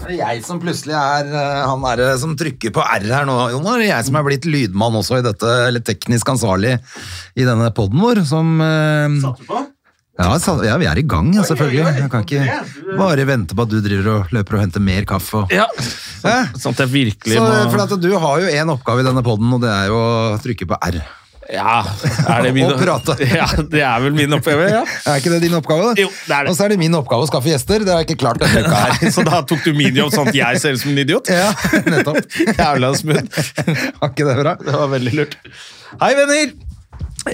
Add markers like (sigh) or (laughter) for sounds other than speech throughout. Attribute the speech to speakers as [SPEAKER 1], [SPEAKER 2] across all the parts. [SPEAKER 1] Det er jeg som plutselig er eh, han er, eh, som trykker på R her nå, Jonar. Det er Jeg som er blitt lydmann også i dette, eller teknisk ansvarlig i denne podden vår, som eh,
[SPEAKER 2] Satt du på?
[SPEAKER 1] ja, sa- ja, vi er i gang, ja, selvfølgelig.
[SPEAKER 2] oi, oi.
[SPEAKER 1] Jeg kan ikke bare vente på at du driver og løper og henter mer kaffe. Og.
[SPEAKER 2] Ja.
[SPEAKER 1] Hæ?
[SPEAKER 2] Sånn at jeg virkelig
[SPEAKER 1] Så,
[SPEAKER 2] må
[SPEAKER 1] for at du har jo en oppgave i denne podden, og det er jo å trykke på R.
[SPEAKER 2] Ja, er det min (laughs)
[SPEAKER 1] Og prate.
[SPEAKER 2] Ja, det er vel min oppgave, ja.
[SPEAKER 1] Er ikke det din oppgave? da?
[SPEAKER 2] Jo, det er det.
[SPEAKER 1] Og så er det min oppgave å skaffe gjester. Det har jeg ikke klart denne uka
[SPEAKER 2] (laughs)
[SPEAKER 1] her.
[SPEAKER 2] Så da tok du min jobb, sånn at jeg ser ut som en idiot?
[SPEAKER 1] (laughs) Ja, nettopp. (laughs)
[SPEAKER 2] Jævla smooth.
[SPEAKER 1] Var ikke det bra?
[SPEAKER 2] Det var veldig lurt.
[SPEAKER 1] Hei, venner!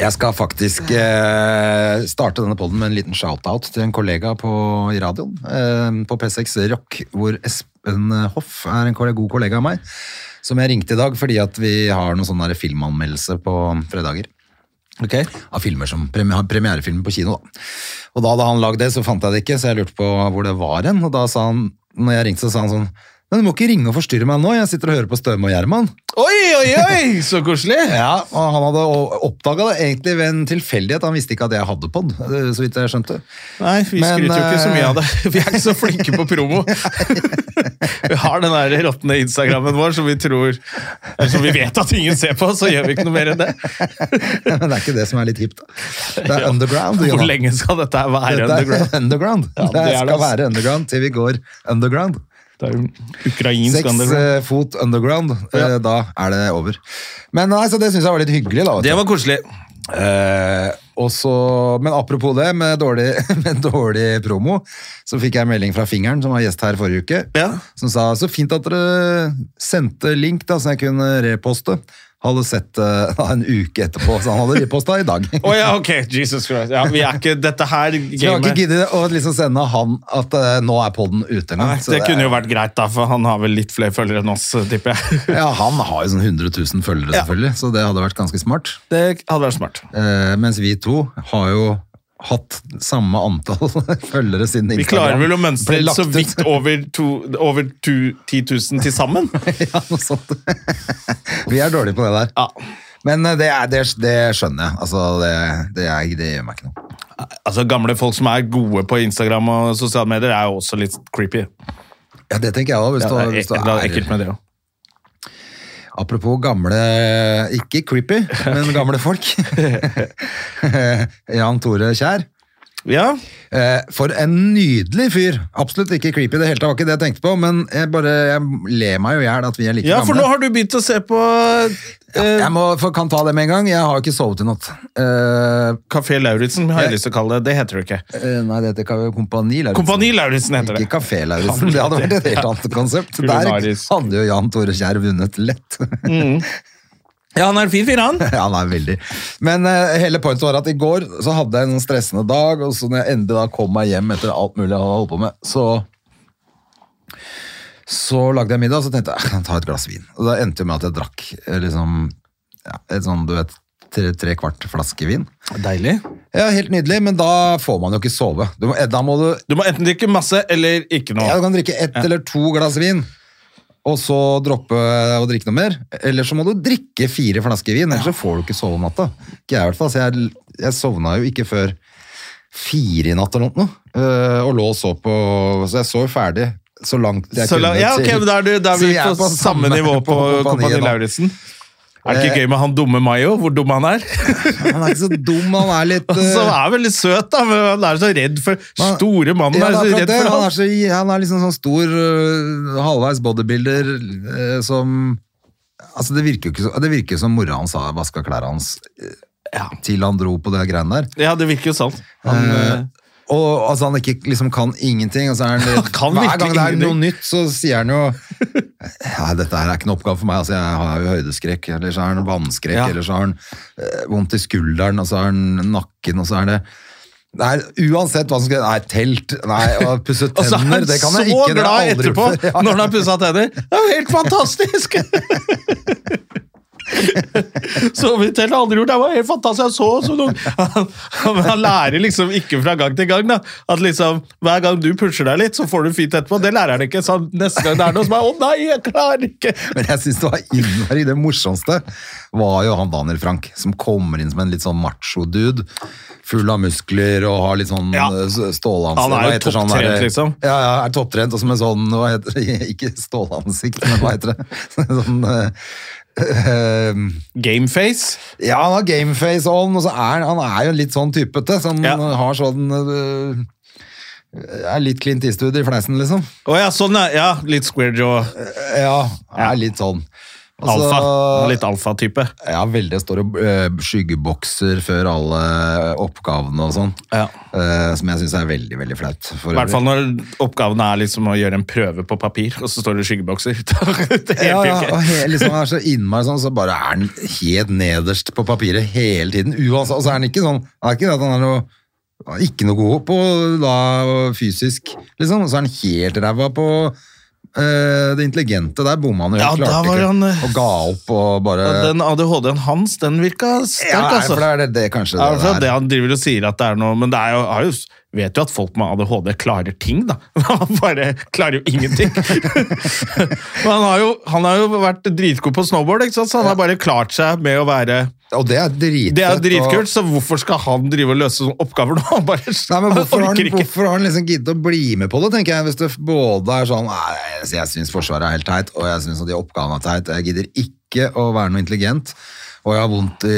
[SPEAKER 1] Jeg skal faktisk eh, starte denne podden med en liten shout-out til en kollega på, i radioen eh, på P6 Rock, hvor Espen Hoff er en kolle- god kollega av meg, som jeg ringte i dag fordi at vi har noen sånn der filmanmeldelse på fredager av filmer som premi- har premierefilmer på kino. Da. Og da hadde han lagd det, så fant jeg det ikke, så jeg lurte på hvor det var hen. Og da sa han, når jeg ringte, så sa han sånn Men du må ikke ringe og forstyrre meg nå, jeg sitter og hører på Støme og Gjerman.
[SPEAKER 2] Oi, oi, oi! Så koselig.
[SPEAKER 1] (laughs) Ja, og han hadde oppdaga det egentlig ved en tilfeldighet. Han visste ikke at jeg hadde pod, eh, så vidt jeg skjønte. (laughs)
[SPEAKER 2] Nei, vi
[SPEAKER 1] Men,
[SPEAKER 2] skryter jo ikke så mye av det.
[SPEAKER 1] eh,
[SPEAKER 2] (laughs) Vi er ikke så flinke på promo. (laughs) Vi har den der råtne Instagrammen vår som vi tror eller Som vi vet at ingen ser på, så gjør vi ikke noe mer enn det.
[SPEAKER 1] Men det er ikke det som er litt hipt. da. Det
[SPEAKER 2] (laughs)
[SPEAKER 1] er underground.
[SPEAKER 2] Hvor
[SPEAKER 1] Jonas.
[SPEAKER 2] lenge skal dette her være
[SPEAKER 1] Dette
[SPEAKER 2] underground?
[SPEAKER 1] er (laughs) underground.
[SPEAKER 2] Ja,
[SPEAKER 1] det,
[SPEAKER 2] det er det,
[SPEAKER 1] skal
[SPEAKER 2] altså.
[SPEAKER 1] være underground til vi går underground.
[SPEAKER 2] Det er jo ukrainsk
[SPEAKER 1] Seks
[SPEAKER 2] underground.
[SPEAKER 1] eh, fot underground, eh, da er det over. Men nei, så det syns jeg var litt hyggelig, da. vet du.
[SPEAKER 2] Det var koselig.
[SPEAKER 1] Eh, og så- men apropos det, med dårlig, (laughs) med dårlig promo, så fikk jeg en melding fra Fingeren, som var gjest her forrige uke,
[SPEAKER 2] Ja.
[SPEAKER 1] som sa så fint at dere sendte link da, så jeg kunne reposte. Hadde sett eh, (laughs) da, en uke etterpå, så han hadde reposta i dag.
[SPEAKER 2] (laughs) Å ja, ok. Jesus Christ. Ja, vi er ikke Dette her
[SPEAKER 1] (laughs) Så (laughs) jeg har ikke
[SPEAKER 2] gamet
[SPEAKER 1] giddet å liksom sende han at eh, nå er podden ute engang.
[SPEAKER 2] Nei,
[SPEAKER 1] så
[SPEAKER 2] det kunne jo vært greit, da, for han har vel litt flere følgere enn oss, tipper jeg.
[SPEAKER 1] (laughs) Ja, han har jo sånn 100 000 følgere,
[SPEAKER 2] Ja.
[SPEAKER 1] selvfølgelig, så det hadde vært ganske smart.
[SPEAKER 2] Det hadde vært smart.
[SPEAKER 1] Eh, mens vi to har jo hatt samme antall (laughs) følgere siden Instagram.
[SPEAKER 2] Vi klarer vel å
[SPEAKER 1] ble
[SPEAKER 2] mønstre
[SPEAKER 1] lagt
[SPEAKER 2] så
[SPEAKER 1] ut.
[SPEAKER 2] vidt over, to, over to, 10 000 til
[SPEAKER 1] (laughs)
[SPEAKER 2] sammen.
[SPEAKER 1] (laughs) Ja, noe sånt. Vi er dårlige på det der.
[SPEAKER 2] Ja.
[SPEAKER 1] Men eh, det, er, det, det skjønner jeg. Altså, det, det, er, det gjør meg ikke noe.
[SPEAKER 2] Altså, Gamle folk som er gode på Instagram og sosiale medier, er jo også litt creepy.
[SPEAKER 1] Ja, det tenker jeg òg. Hvis,
[SPEAKER 2] Ja,
[SPEAKER 1] du-
[SPEAKER 2] det
[SPEAKER 1] hvis du
[SPEAKER 2] er det er ekkelt
[SPEAKER 1] er
[SPEAKER 2] med det òg.
[SPEAKER 1] Apropos gamle Ikke creepy,
[SPEAKER 2] (laughs)
[SPEAKER 1] men gamle folk. (laughs) Jan Tore Kjær.
[SPEAKER 2] Ja.
[SPEAKER 1] Eh, For en nydelig fyr. Absolutt ikke creepy i det hele tatt, var ikke det jeg tenkte på, men jeg bare jeg ler meg jo i hjel at vi er like
[SPEAKER 2] ja, for
[SPEAKER 1] gamle.
[SPEAKER 2] nå har du begynt å se på Eh,
[SPEAKER 1] Jeg må, for, kan ta det med en gang. Jeg har jo ikke sovet i natt. Eh,
[SPEAKER 2] Kafé Lauritzen, har jeg lyst til å kalle det. Det heter det ikke.
[SPEAKER 1] eh, nei, det heter Ka- Kompani Lauritzen.
[SPEAKER 2] Kompani Lauritzen heter
[SPEAKER 1] Ikke
[SPEAKER 2] det.
[SPEAKER 1] Kafé Lauritzen, det hadde vært et helt annet konsept. Der
[SPEAKER 2] Kulinarisk.
[SPEAKER 1] hadde jo Jan Tore Kjær vunnet lett.
[SPEAKER 2] Ja, han er en fin fyr, han.
[SPEAKER 1] (laughs) Ja, han er veldig. Men eh, hele pointet var at i går så hadde jeg en stressende dag, og så når jeg endelig da kom meg hjem etter alt mulig jeg hadde holdt på med, så så lagde jeg middag, og så tenkte jeg, jeg kan ta et glass vin. Og da endte jo med at jeg drakk eh, liksom, ja, et sånn, du vet, tre, tre kvart flaske vin.
[SPEAKER 2] Deilig.
[SPEAKER 1] Ja, helt nydelig, men da får man jo ikke sove. Du må, da må du
[SPEAKER 2] Du må enten drikke masse eller ikke noe.
[SPEAKER 1] Ja, du kan drikke ett eller to glass vin, og så droppe å drikke noe mer. Eller så må du drikke fire flasker vin, ellers så får du ikke sove om natta. Ikke jeg i hvert fall, så jeg, jeg sovna jo ikke før fire i natt eller noe, eh, og lå og så på, så jeg sov ferdig så langt jeg
[SPEAKER 2] Så la,
[SPEAKER 1] kunne.
[SPEAKER 2] ja, ok,
[SPEAKER 1] til-
[SPEAKER 2] men da er, du, da er
[SPEAKER 1] Så
[SPEAKER 2] vi
[SPEAKER 1] jeg
[SPEAKER 2] på,
[SPEAKER 1] er
[SPEAKER 2] samme nivå på,
[SPEAKER 1] nå.
[SPEAKER 2] Kompani
[SPEAKER 1] Eh,
[SPEAKER 2] Lauritzen. Er det ikke gøy med han dumme Mayo, hvor dum han er? (laughs)
[SPEAKER 1] Han er ikke så dum, han er litt...
[SPEAKER 2] Han som
[SPEAKER 1] eh,
[SPEAKER 2] er veldig søt, da, men han er så redd for
[SPEAKER 1] Man-
[SPEAKER 2] Store mannen
[SPEAKER 1] Ja,
[SPEAKER 2] er
[SPEAKER 1] det er
[SPEAKER 2] så
[SPEAKER 1] akkurat
[SPEAKER 2] redd
[SPEAKER 1] det.
[SPEAKER 2] for
[SPEAKER 1] Han
[SPEAKER 2] han.
[SPEAKER 1] er, så, han er liksom sånn stor, øh, halvveis bodybuilder øh, som Altså, det virker jo ikke så- det virker jo som mora hans har vaska klærne hans øh, til han dro på det greiene der.
[SPEAKER 2] Ja, det virker jo sant. Han, eh,
[SPEAKER 1] Og altså, han ikke liksom kan ingenting. Og så
[SPEAKER 2] (laughs)
[SPEAKER 1] er han litt,
[SPEAKER 2] Han kan
[SPEAKER 1] hver
[SPEAKER 2] virkelig
[SPEAKER 1] gang det er noe
[SPEAKER 2] ingenting.
[SPEAKER 1] nytt, så sier han jo Nei, dette her er ikke en oppgave for meg. Altså, jeg har jo høydeskrekk, eller så har han vannskrekk,
[SPEAKER 2] Ja.
[SPEAKER 1] eller så har han eh, vondt i skulderen, og så har han nakken, og så er det Nei, uansett hva som skal Nei, telt Nei, å pusse
[SPEAKER 2] (laughs) Og så er
[SPEAKER 1] tenner,
[SPEAKER 2] han
[SPEAKER 1] det kan
[SPEAKER 2] så
[SPEAKER 1] jeg ikke. det har
[SPEAKER 2] glad
[SPEAKER 1] jeg aldri
[SPEAKER 2] etterpå
[SPEAKER 1] gjort før. (laughs) Ja,
[SPEAKER 2] når han har pussa tenner. Det er jo helt
[SPEAKER 1] (laughs)
[SPEAKER 2] fantastisk! så vidt helt aldri gjort. Det var helt fantastisk. Jeg så så noen. Han, han, han lærer liksom ikke fra gang til gang. da. At liksom, Hver gang du pusher deg litt, så får du fint etterpå. Det lærer han ikke. Så han- neste gang det er noe som er Å nei, jeg klarer ikke!
[SPEAKER 1] Men jeg syns det var innmari det morsomste var jo han Daniel Frank, som kommer inn som en litt sånn macho-dude. Full av muskler og har litt sånn
[SPEAKER 2] Ja.
[SPEAKER 1] eh, stålansikt.
[SPEAKER 2] Han er jo
[SPEAKER 1] Hva heter sånn
[SPEAKER 2] topptrent,
[SPEAKER 1] der-
[SPEAKER 2] liksom.
[SPEAKER 1] Ja, ja, er topptrent, og som en sånn hva heter det? (laughs) Ikke stålansikt, men hva heter det? (laughs) Sånn eh, eh,
[SPEAKER 2] Gameface.
[SPEAKER 1] ja, han har gameface on, og så er han, han er jo en litt sånn typete. Som
[SPEAKER 2] Ja.
[SPEAKER 1] har sånn eh, Er litt Clint Eastwood i fleisen, liksom.
[SPEAKER 2] Å ja, sånn, ja. ja. Litt square jaw.
[SPEAKER 1] Eh, Ja, er litt sånn. Og så-
[SPEAKER 2] Alfa. Litt alfa-type.
[SPEAKER 1] Ja, veldig. Jeg står og øh, skyggebokser før alle oppgavene og sånn.
[SPEAKER 2] Ja.
[SPEAKER 1] Eh, som jeg syns er veldig, veldig flaut. for
[SPEAKER 2] I hvert fall
[SPEAKER 1] øvrig.
[SPEAKER 2] når oppgaven er liksom å gjøre en prøve på papir, og så står det skyggebokser. (laughs) det
[SPEAKER 1] ja,
[SPEAKER 2] hjelper jo
[SPEAKER 1] ja,
[SPEAKER 2] ikke.
[SPEAKER 1] og he, liksom han er så innmari sånn, så bare er han helt nederst på papiret hele tiden. Uansett, og så er han ikke sånn han er ikke det at han er noe han er ikke noe god på da, fysisk, liksom. Og så er han helt ræva på eh, det intelligente. Der bomma han jo.
[SPEAKER 2] Ja,
[SPEAKER 1] helt,
[SPEAKER 2] da
[SPEAKER 1] klarte
[SPEAKER 2] var
[SPEAKER 1] ikke
[SPEAKER 2] han, eh,
[SPEAKER 1] Og ga opp og bare
[SPEAKER 2] Ja, Den ADHD-en hans, den virka sterk,
[SPEAKER 1] Ja, nei,
[SPEAKER 2] altså.
[SPEAKER 1] for det er det, det kanskje
[SPEAKER 2] Ja, for
[SPEAKER 1] det,
[SPEAKER 2] det
[SPEAKER 1] der.
[SPEAKER 2] han driver og sier at det er noe, men det er jo, har jo, vet jo at folk med ADHD klarer ting, da. (laughs) Han bare klarer jo ingenting. (laughs) men han har jo, han har jo vært dritgod på snowboard, ikke sant? så han har bare klart seg med å være
[SPEAKER 1] Og det er dritfett.
[SPEAKER 2] Det er jo
[SPEAKER 1] og-
[SPEAKER 2] dritkult, så hvorfor skal han drive og løse sånne oppgaver nå? (laughs) Han bare
[SPEAKER 1] Nei, men hvorfor har,
[SPEAKER 2] orker
[SPEAKER 1] han,
[SPEAKER 2] ikke.
[SPEAKER 1] hvorfor har han liksom giddet å bli med på det, tenker jeg, hvis det både er sånn Nei, jeg- jeg syns Forsvaret er helt teit, og jeg syns de oppgavene er teit, og jeg gidder ikke å være noe intelligent, og jeg har vondt i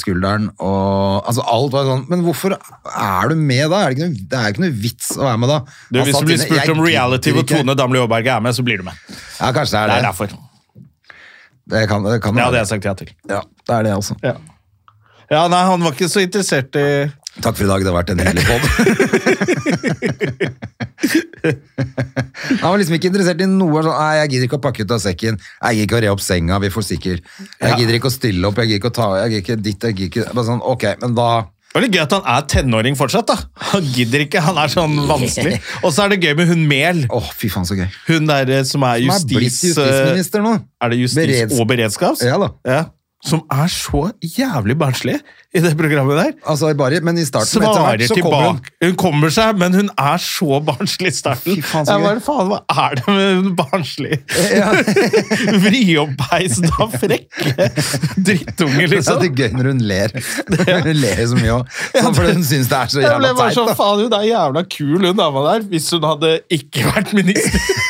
[SPEAKER 1] skulderen, og altså alt var sånn Men hvorfor er du med da? Er det, ikke noe, det er jo ikke noe vits å være med da. Han
[SPEAKER 2] Du, hvis
[SPEAKER 1] satt
[SPEAKER 2] du blir
[SPEAKER 1] inne,
[SPEAKER 2] spurt
[SPEAKER 1] «Jeg
[SPEAKER 2] om reality
[SPEAKER 1] gidder
[SPEAKER 2] hvor
[SPEAKER 1] ikke».
[SPEAKER 2] Tone Damli Aaberge er med, så blir du med. Det
[SPEAKER 1] Ja, kanskje det er det.
[SPEAKER 2] er derfor.
[SPEAKER 1] Det kan det. Kan
[SPEAKER 2] Det hadde
[SPEAKER 1] være.
[SPEAKER 2] jeg sagt ja til.
[SPEAKER 1] Ja, det er det, altså.
[SPEAKER 2] Ja. ja, nei, han var ikke så interessert i
[SPEAKER 1] Takk for i dag, det har vært en hyggelig
[SPEAKER 2] (laughs)
[SPEAKER 1] podd. Han var liksom ikke interessert i noe sånn, nei, jeg gidder ikke å pakke ut av sekken, jeg gidder ikke å re opp senga, vi får sikkert, jeg gidder ikke å stille opp, jeg gidder ikke å ta, jeg gidder ikke ditt, jeg gidder ikke, bare sånn, ok, men da,
[SPEAKER 2] Det er litt gøy at han er tenåring fortsatt. da Han gidder ikke, han er sånn (laughs) vanskelig. Og så er det gøy med hun Mehl,
[SPEAKER 1] åh, fy faen så gøy.
[SPEAKER 2] hun der eh, som er
[SPEAKER 1] Han er
[SPEAKER 2] justis... eh,
[SPEAKER 1] blitt justisminister nå.
[SPEAKER 2] Er det justis
[SPEAKER 1] Bereds-
[SPEAKER 2] og beredskaps?
[SPEAKER 1] Ja da.
[SPEAKER 2] Som er så jævlig barnslig i det programmet der.
[SPEAKER 1] Altså, bare, men i starten, etter
[SPEAKER 2] Svarer
[SPEAKER 1] hvert, så kommer hun,
[SPEAKER 2] tilbake. Hun kommer seg, men hun er så barnslig i starten.
[SPEAKER 1] Fy faen, så
[SPEAKER 2] Jeg
[SPEAKER 1] gøy.
[SPEAKER 2] bare, faen, hva er det med hun barnslig? (laughs) Vrioppeisende og frekke drittunge,
[SPEAKER 1] det er
[SPEAKER 2] liksom.
[SPEAKER 1] det gøy når hun
[SPEAKER 2] (laughs)
[SPEAKER 1] ler. Hun ler så mye, og, sånn, fordi hun synes det er så
[SPEAKER 2] Jeg ble
[SPEAKER 1] jævla
[SPEAKER 2] bare
[SPEAKER 1] teit.
[SPEAKER 2] sånn,
[SPEAKER 1] da.
[SPEAKER 2] faen, hun er jævla kul, hun dama der, hvis hun hadde ikke vært
[SPEAKER 1] (laughs)
[SPEAKER 2] minister.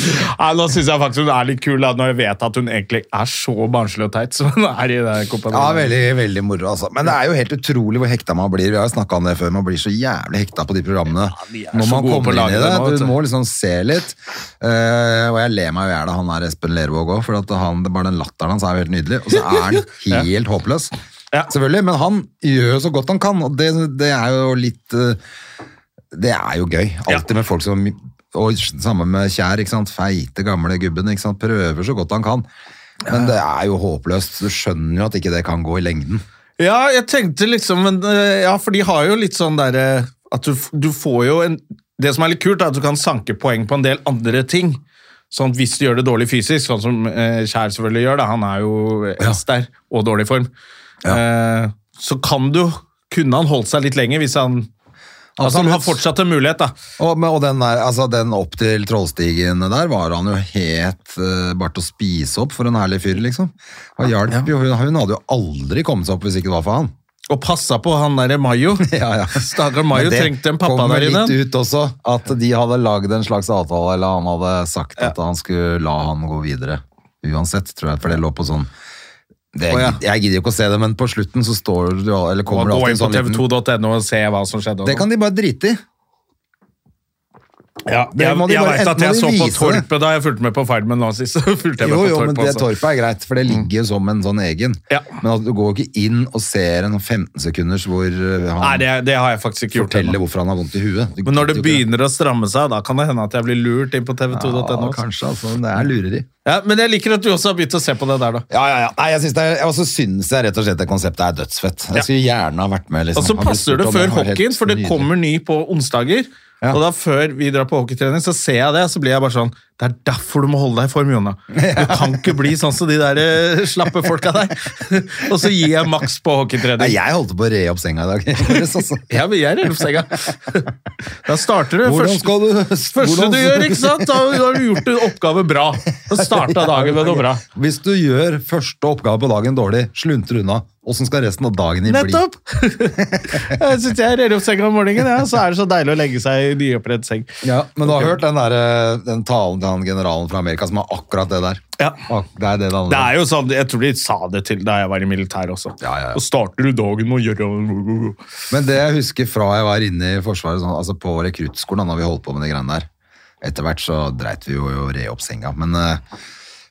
[SPEAKER 2] Nei, Nå syns jeg faktisk hun er litt kul, da, når jeg vet at hun egentlig er så barnslig og teit som hun er i den
[SPEAKER 1] Ja,
[SPEAKER 2] kompanien.
[SPEAKER 1] veldig, veldig moro, altså. Men det er jo helt utrolig hvor hekta man blir. Vi har jo snakka om det før, man blir så jævlig hekta på de programmene.
[SPEAKER 2] de er
[SPEAKER 1] Når
[SPEAKER 2] så
[SPEAKER 1] man
[SPEAKER 2] gode på å
[SPEAKER 1] kommer inn
[SPEAKER 2] lage
[SPEAKER 1] i
[SPEAKER 2] det nå, vet
[SPEAKER 1] det,
[SPEAKER 2] du.
[SPEAKER 1] du må liksom se litt. Eh, og jeg ler meg jo i hjel av han der Espen Lervåg òg, for at han, det er bare den latteren hans er jo helt nydelig. Og så er han
[SPEAKER 2] (laughs)
[SPEAKER 1] helt håpløs.
[SPEAKER 2] Ja.
[SPEAKER 1] Selvfølgelig, men han gjør jo så godt han kan, og det, det er jo litt eh, Det er jo gøy. Alltid med folk som Og sammen med Kjær, ikke sant. Feite, gamle gubben, ikke sant. Prøver så godt han kan. Men det er jo håpløst. Du skjønner jo at ikke det kan gå i lengden.
[SPEAKER 2] Ja, jeg tenkte liksom men, eh, Ja, for de har jo litt sånn derre At du, f- du får jo en Det som er litt kult, er at du kan sanke poeng på en del andre ting. Sånn at Hvis du gjør det dårlig fysisk, sånn som eh, Kjær selvfølgelig gjør, da, han er jo eldst der og dårlig form, eh, så kan du Kunne han holdt seg litt lenger hvis han Altså, han har
[SPEAKER 1] Absolutt.
[SPEAKER 2] fortsatt en mulighet, da.
[SPEAKER 1] Og, men- og den, der, altså, den opp til Trollstigen der var han jo helt eh, bare til å spise opp for en herlig fyr, liksom. Og hjalp jo, hun, hun hadde jo aldri kommet seg opp hvis ikke det var for han.
[SPEAKER 2] Og passa på han derre Mayo.
[SPEAKER 1] (laughs) Ja, ja.
[SPEAKER 2] Stakkar Mayo
[SPEAKER 1] Men det
[SPEAKER 2] trengte en pappa
[SPEAKER 1] kommer
[SPEAKER 2] der inne.
[SPEAKER 1] litt ut også, at de hadde lagd en slags avtale, eller han hadde sagt at han skulle la han gå videre. Uansett, tror jeg, for det lå på sånn det,
[SPEAKER 2] Å, ja.
[SPEAKER 1] Jeg gidder jo ikke å se det, men på slutten så står det jo Eller
[SPEAKER 2] Og
[SPEAKER 1] kommer det
[SPEAKER 2] gå
[SPEAKER 1] alltid sånn en
[SPEAKER 2] inn på
[SPEAKER 1] sånn liten
[SPEAKER 2] tv2.no og se hva som skjedde. og
[SPEAKER 1] Det
[SPEAKER 2] sånn.
[SPEAKER 1] kan de bare drite i.
[SPEAKER 2] Ja,
[SPEAKER 1] Det
[SPEAKER 2] jeg
[SPEAKER 1] må de
[SPEAKER 2] jeg
[SPEAKER 1] bare-
[SPEAKER 2] vet at
[SPEAKER 1] må
[SPEAKER 2] jeg
[SPEAKER 1] de
[SPEAKER 2] så på
[SPEAKER 1] vise det.
[SPEAKER 2] Torpet da jeg fulgte med på Farmen nå sist. så (laughs) fulgte jeg med
[SPEAKER 1] Jo,
[SPEAKER 2] på
[SPEAKER 1] jo, men
[SPEAKER 2] Torpet
[SPEAKER 1] det
[SPEAKER 2] også.
[SPEAKER 1] torpet er greit, for det ligger jo som en sånn egen.
[SPEAKER 2] Ja.
[SPEAKER 1] Men at du går jo ikke inn og ser en 15 sekunders hvor eh, han
[SPEAKER 2] Nei, det, det har jeg faktisk ikke gjort.
[SPEAKER 1] forteller
[SPEAKER 2] ennå.
[SPEAKER 1] hvorfor han har vondt i huet. Du
[SPEAKER 2] Men når det
[SPEAKER 1] gidder jo ikke
[SPEAKER 2] begynner å stramme seg, da kan det hende at jeg blir lurt inn på tv2.no.
[SPEAKER 1] Ja,
[SPEAKER 2] også.
[SPEAKER 1] kanskje, altså. Det er lureri.
[SPEAKER 2] Ja, men jeg liker at du også har begynt å se på det der, da.
[SPEAKER 1] Ja, ja, ja. Nei, jeg synes det er, og så synes jeg rett og slett det konseptet er dødsfett. Jeg skulle gjerne ha vært med. Liksom.
[SPEAKER 2] Og så
[SPEAKER 1] Hadde blitt
[SPEAKER 2] passer
[SPEAKER 1] spurt
[SPEAKER 2] det
[SPEAKER 1] om
[SPEAKER 2] før
[SPEAKER 1] var helt
[SPEAKER 2] hockeyen, for det
[SPEAKER 1] nydelig.
[SPEAKER 2] kommer ny på onsdager.
[SPEAKER 1] Ja.
[SPEAKER 2] Og da Før vi drar på hockeytrening, så ser jeg det, så blir jeg bare sånn Det er derfor du må holde deg i form, Jonna. Du kan ikke bli sånn som de der eh, slappe folka der. (laughs) og så gir jeg maks på
[SPEAKER 1] Nei,
[SPEAKER 2] hockeytrening.
[SPEAKER 1] jeg holdt på å re opp senga i dag. (laughs) altså- Så-
[SPEAKER 2] (laughs)
[SPEAKER 1] så-
[SPEAKER 2] Ja, men jeg er opp senga. (laughs) Da starter du.
[SPEAKER 1] Hvordan
[SPEAKER 2] Første,
[SPEAKER 1] skal du
[SPEAKER 2] første
[SPEAKER 1] hvordan-
[SPEAKER 2] du gjør, ikke sant? Da har du gjort en oppgave bra. Da starta dagen med noe bra.
[SPEAKER 1] Hvis du gjør første oppgave på dagen dårlig, slunter unna. Åssen skal resten av dagen din bli?
[SPEAKER 2] Nettopp! (laughs) Jeg syns jeg rer opp senga om morgenen, ja, så er det så deilig å legge seg i nyoppredd seng.
[SPEAKER 1] Ja, men du har hørt den, der, eh, den talen til han generalen fra Amerika som har akkurat det der.
[SPEAKER 2] Ja.
[SPEAKER 1] Ak- Det er det det handler
[SPEAKER 2] Det
[SPEAKER 1] om.
[SPEAKER 2] er jo sånn, Jeg tror de sa det til da jeg var i militæret også.
[SPEAKER 1] Ja, ja, ja.
[SPEAKER 2] Og starter du dagen med å gjøre
[SPEAKER 1] Men det jeg husker fra jeg var inne i Forsvaret, sånn, altså på rekruttskolen, da, når vi holdt på med de greiene der Etter hvert så dreit vi jo i å re opp senga, men, eh,